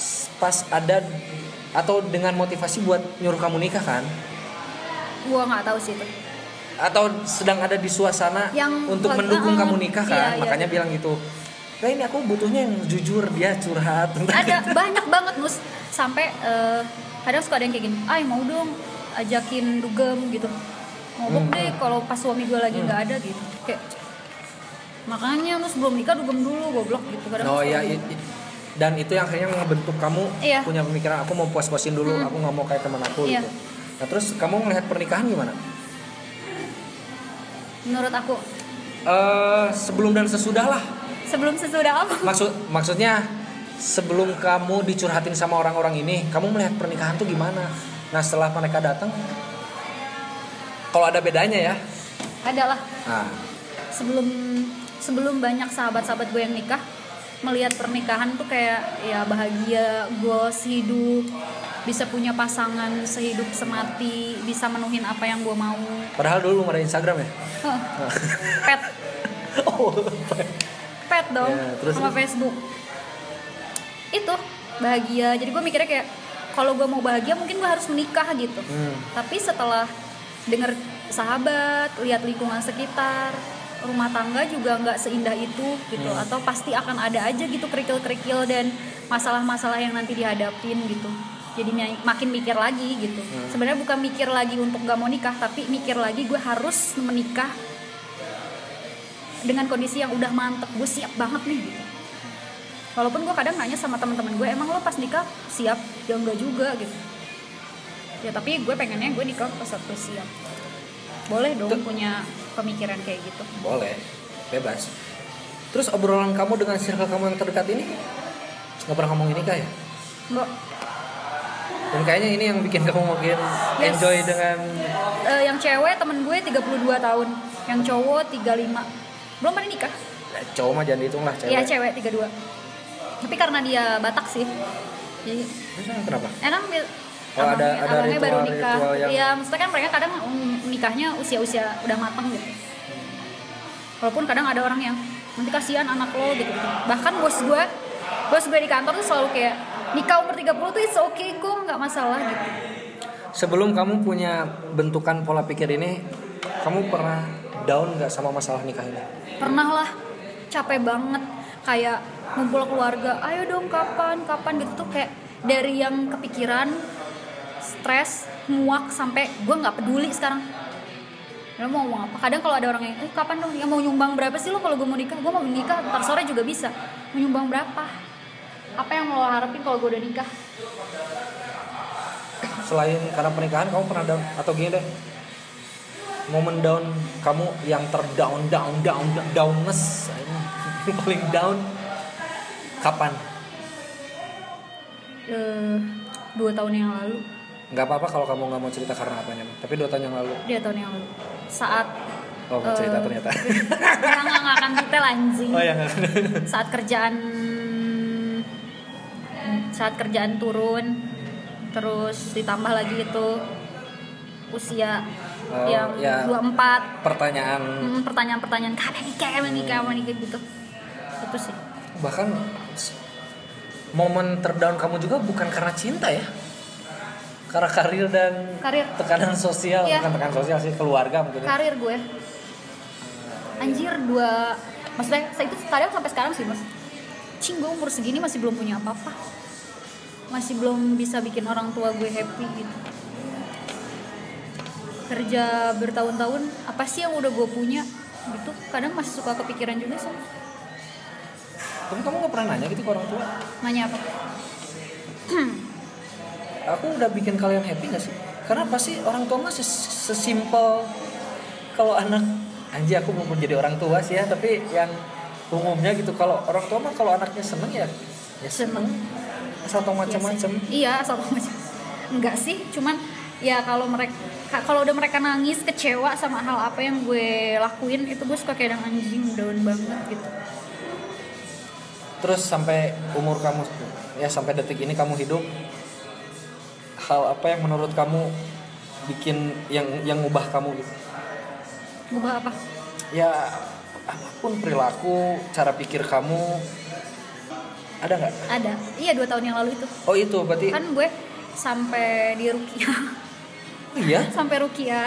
S1: s- pas ada atau dengan motivasi buat nyuruh kamu nikah kan?
S2: Gua nggak tahu
S1: [laughs]
S2: sih itu.
S1: Atau sedang ada di suasana
S2: Yang-
S1: untuk
S2: eh,
S1: mendukung
S2: eh,
S1: kamu nikah kan?
S2: iya, iya.
S1: Makanya bilang gitu. Nah ini aku butuhnya yang jujur dia curhat [laughs] tentang
S2: ada banyak banget nus sampai eh, kadang suka ada yang kayak gini ay mau dong ajakin dugem gitu ngobok
S1: Hmm.
S2: deh kalau pas suami gue lagi nggak ada gitu kayak makanya nus belum nikah dugem dulu goblok gitu kadang
S1: Oh
S2: suka
S1: iya,
S2: gitu.
S1: i- i- dan itu yang akhirnya ngebentuk kamu
S2: Iya.
S1: punya pemikiran aku mau puas-puasin dulu, aku nggak mau kayak teman aku
S2: Iya.
S1: gitu. Nah terus kamu melihat pernikahan gimana?
S2: menurut aku
S1: Eh sebelum dan sesudah lah.
S2: sebelum sesudah apa [laughs]
S1: Maksud maksudnya sebelum kamu dicurhatin sama orang-orang ini, kamu melihat pernikahan tuh gimana? Nah setelah mereka datang, kalau ada bedanya ya.
S2: adalah
S1: Nah,
S2: sebelum sebelum banyak sahabat-sahabat gue yang nikah melihat pernikahan tuh kayak ya bahagia, goals hidup, bisa punya pasangan sehidup semati, bisa menuhin apa yang gue mau.
S1: Padahal dulu belum ada Instagram ya.
S2: Hah. Pet,
S1: [laughs] Oh.
S2: pet dong
S1: Ya, terus-
S2: sama Facebook. Itu bahagia. Jadi gue mikirnya kayak kalau gue mau bahagia mungkin gue harus menikah gitu.
S1: Hmm.
S2: Tapi setelah denger sahabat, lihat lingkungan sekitar, rumah tangga juga nggak seindah itu gitu. Atau pasti akan ada aja gitu kerikil-kerikil dan masalah-masalah yang nanti dihadapin gitu. Jadi mi- makin mikir lagi gitu. Sebenarnya bukan mikir lagi untuk gak mau nikah, tapi mikir lagi gue harus menikah dengan kondisi yang udah mantep. Gue siap banget nih gitu. Walaupun gue kadang nanya sama teman-teman gue, emang lo pas nikah siap? Ya enggak juga gitu ya tapi gue pengennya gue nikah pas aku siap boleh dong punya pemikiran kayak gitu
S1: Boleh. Bebas. Terus obrolan kamu dengan circle kamu yang terdekat ini nggak pernah ngomong nikah ya?
S2: Enggak.
S1: Dan kayaknya ini yang bikin kamu makin
S2: Yes.
S1: enjoy dengan
S2: Eh, yang cewek temen gue 32 tahun yang cowok 35 belum pada nikah
S1: Eh, cowok mah jangan dihitung lah cewek.
S2: iya cewek 32 tapi karena dia batak sih jadi
S1: Terus kenapa?
S2: enak bil-
S1: Oh, ada-
S2: abangnya-
S1: ada
S2: abangnya baru
S1: ritual-
S2: nikah
S1: ritual yang-
S2: iya maksudnya kan mereka kadang mm, nikahnya usia-usia udah matang gitu walaupun kadang ada orang yang nanti kasihan anak lo gitu bahkan bos gue bos gue di kantor tuh selalu kayak nikah umur 30 tuh it's okay kok nggak masalah gitu
S1: Sebelum kamu punya bentukan pola pikir ini, kamu pernah down nggak sama masalah nikah ini?
S2: pernah lah capek banget kayak ngumpul keluarga ayo dong kapan kapan gitu tuh kayak dari yang kepikiran stres muak sampai gue nggak peduli sekarang lo mau ngomong apa kadang kalau ada orang yang eh kapan dong ya mau nyumbang berapa sih lo kalau gue mau nikah gue mau nikah ntar sore juga bisa mau nyumbang berapa apa yang lo harapin kalau gue udah nikah
S1: Selain karena pernikahan, kamu pernah down atau gini deh? Momen down kamu yang terdown, down, down, down, downness, [laughs] Ini paling down. Kapan?
S2: eh dua tahun yang lalu
S1: Nggak apa-apa kalau kamu nggak mau cerita karena apanya, tapi dua tahun yang lalu.
S2: dia tahun yang lalu saat [laughs]
S1: Oh, mau cerita
S2: eh,
S1: ternyata. [laughs]
S2: orang nggak akan detail anjing
S1: Oh ya
S2: [laughs]
S1: nggak.
S2: saat kerjaan saat kerjaan turun terus ditambah lagi itu usia
S1: Oh,
S2: yang
S1: ya.
S2: 24
S1: Pertanyaan
S2: Hmm, pertanyaan-pertanyaan kapan nikah kapan nikah kapan nikah gitu itu sih
S1: bahkan s- momen terdown kamu juga bukan karena cinta ya, karena karir dan
S2: karir
S1: tekanan sosial
S2: Iya.
S1: bukan tekanan sosial sih keluarga mungkin ya.
S2: karir gue anjir dua maksudnya saya itu kadang sampai sekarang sih mas cing gue umur segini masih belum punya apa-apa masih belum bisa bikin orang tua gue happy gitu kerja bertahun-tahun apa sih yang udah gue punya gitu kadang masih suka kepikiran juga sih
S1: tapi kamu nggak pernah nanya gitu ke orang tua
S2: nanya apa
S1: aku udah bikin kalian happy gak sih karena pasti orang tua mah ses- sesimpel kalau anak anjir aku mau jadi orang tua sih ya tapi yang umumnya gitu kalau orang tua mah kalau anaknya seneng ya ya seneng asal tau macam-macam
S2: Iya, asal tau macam. Enggak sih, cuman ya kalau mereka kalau udah mereka nangis kecewa sama hal apa yang gue lakuin itu gue suka kayak yang anjing down banget gitu.
S1: terus sampai umur kamu ya sampai detik ini kamu hidup hal apa yang menurut kamu bikin yang yang ngubah kamu gitu
S2: Gue apa?
S1: ya apapun perilaku cara pikir kamu ada nggak
S2: Ada. Iya, dua tahun yang lalu itu.
S1: oh itu berarti
S2: Kan gue sampai di Rukia, [laughs]
S1: oh, iya
S2: sampai Rukia.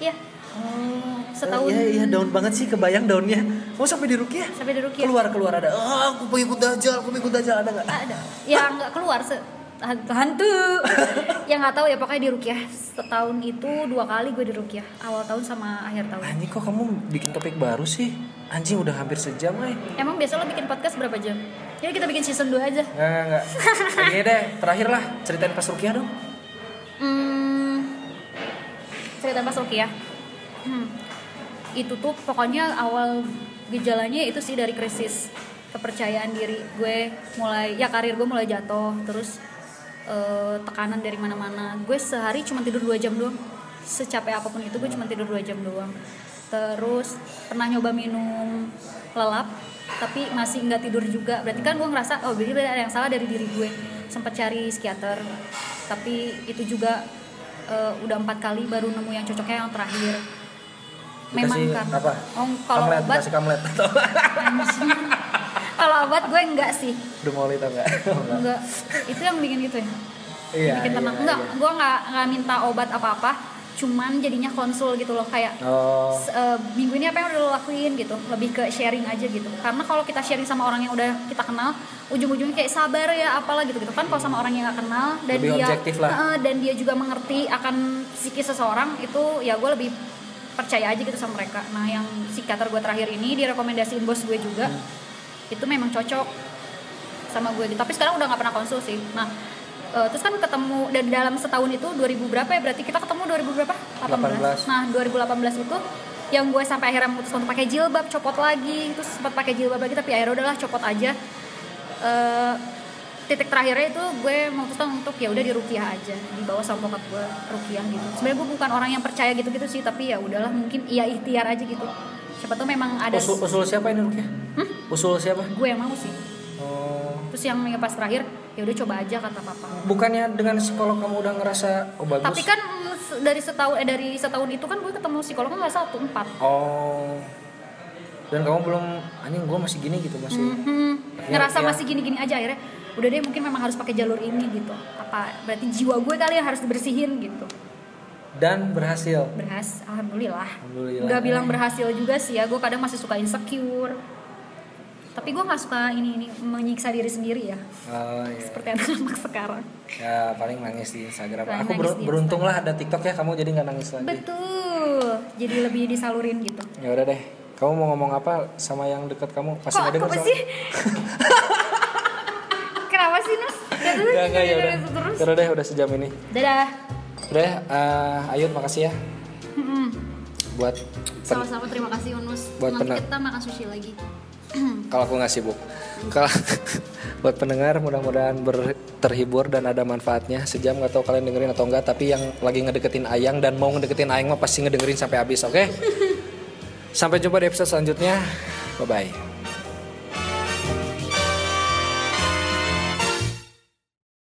S2: Iya,
S1: oh,
S2: Setahun.
S1: iya iya down banget sih kebayang downnya mau sampai di rukiah
S2: sampai di Rukia.
S1: keluar keluar ada ah aku pengikut dajal aku pengikut dajal ada nggak
S2: Ada. Ya nggak keluar se hantu.
S1: [laughs]
S2: hantu. ya nggak tahu ya pokoknya di Rukia. Setahun itu dua kali gue di Rukia. Awal tahun sama akhir tahun.
S1: anjing kok kamu bikin topik baru sih anjing udah hampir sejam ay
S2: Emang biasa lo bikin podcast berapa jam? Jadi kita bikin season 2 aja.
S1: nggak nggak
S2: [laughs]
S1: nggak ini deh terakhir lah ceritain pas rukiah dong
S2: Hmm, cerita Mas Oki ya. Hmm, itu tuh pokoknya awal gejalanya itu sih dari krisis kepercayaan diri gue mulai ya karir gue mulai jatuh terus eh, tekanan dari mana-mana gue sehari cuma tidur dua jam doang secapek apapun itu gue cuma tidur dua jam doang terus pernah nyoba minum lelap tapi masih nggak tidur juga berarti kan gue ngerasa oh berarti ada yang salah dari diri gue sempat cari psikiater tapi itu juga eh, udah empat kali baru nemu yang cocoknya yang terakhir memang
S1: Dikasih
S2: karena
S1: apa?
S2: oh, kalau
S1: Kamlet,
S2: obat [laughs]
S1: dikasih [laughs] kamlet.
S2: kalau obat gue enggak sih
S1: Dumoli tau nggak?
S2: enggak itu yang bikin gitu ya
S1: Iya.
S2: bikin tenang
S1: iya,
S2: enggak
S1: iya.
S2: gue nggak nggak minta obat apa apa cuman jadinya konsul gitu loh kayak
S1: Oh,
S2: S- eh, minggu ini apa yang udah lo lakuin gitu lebih ke sharing aja gitu karena kalau kita sharing sama orang yang udah kita kenal ujung-ujungnya kayak sabar ya apalah gitu gitu kan kalau sama orang yang gak kenal dan
S1: Lebih
S2: dia
S1: objektif lah.
S2: Eh, dan dia juga mengerti akan psikis seseorang itu ya gue lebih percaya aja gitu sama mereka nah yang psikiater gue terakhir ini direkomendasiin bos gue juga
S1: Hmm.
S2: itu memang cocok sama gue gitu tapi sekarang udah nggak pernah konsul sih nah eh, terus kan ketemu dan dalam setahun itu 2000 berapa ya berarti kita ketemu 2000 berapa
S1: 18.
S2: Nah, 2018 itu yang gue sampai akhirnya memutuskan untuk pakai jilbab, copot lagi, terus sempat pakai jilbab lagi tapi akhirnya udahlah copot aja. Eh, titik terakhirnya itu gue memutuskan untuk ya udah di rukiah aja, dibawa sama bokap gue rukiah gitu. Sebenarnya gue bukan orang yang percaya gitu-gitu sih, tapi ya udahlah mungkin iya ikhtiar aja gitu. Siapa tuh memang ada
S1: usul,
S2: Hmm?
S1: usul siapa ini Rukia? Usul siapa?
S2: gue yang mau sih.
S1: Oh,
S2: Terus yang yang pas terakhir ya udah coba aja kata papa.
S1: bukannya dengan psikolog kamu udah ngerasa oh bagus?
S2: Tapi kan mm, se- dari setahun eh dari setahun itu kan gue ketemu psikolog nggak satu empat.
S1: Oh. Dan kamu belum anjing gua masih gini gitu masih.
S2: Mhm.
S1: Ya,
S2: ngerasa
S1: ya.
S2: masih gini-gini aja akhirnya udah deh mungkin memang harus pakai jalur ini gitu apa berarti jiwa gue kali yang harus dibersihin gitu
S1: Dan berhasil.
S2: berhasil alhamdulillah
S1: Alhamdulillah.
S2: nggak bilang berhasil juga sih ya gue kadang masih suka insecure tapi gue nggak suka ini ini menyiksa diri sendiri ya
S1: Oh, iya.
S2: seperti anak-anak sekarang
S1: Ya paling nangis di Instagram.
S2: Paling
S1: Aku
S2: nangis
S1: ber-
S2: di
S1: beruntung lah ada TikTok ya kamu jadi nggak nangis lagi.
S2: betul jadi lebih disalurin gitu
S1: Ya udah deh. Kamu mau ngomong apa sama yang dekat kamu? Pasti
S2: kok
S1: ada
S2: aku
S1: [laughs]
S2: sih [laughs] kenapa sih nus Gak tahu,
S1: Enggak, enggak, ya
S2: gitu
S1: udah.
S2: terus
S1: Terus deh udah sejam ini.
S2: dadah
S1: Udah, eh, Ayun makasih ya
S2: Mhm.
S1: buat pen-
S2: Sama-sama terima kasih Unus.
S1: Buat
S2: Nanti
S1: pena-
S2: kita makan sushi lagi.
S1: kalau aku nggak sibuk. Kalau [laughs] buat pendengar mudah-mudahan ber- terhibur dan ada manfaatnya. Sejam nggak tahu kalian dengerin atau enggak, tapi yang lagi ngedeketin Ayang dan mau ngedeketin
S2: [laughs]
S1: Ayang mah pasti ngedengerin sampai habis, oke? sampai jumpa di episode selanjutnya. Bye bye.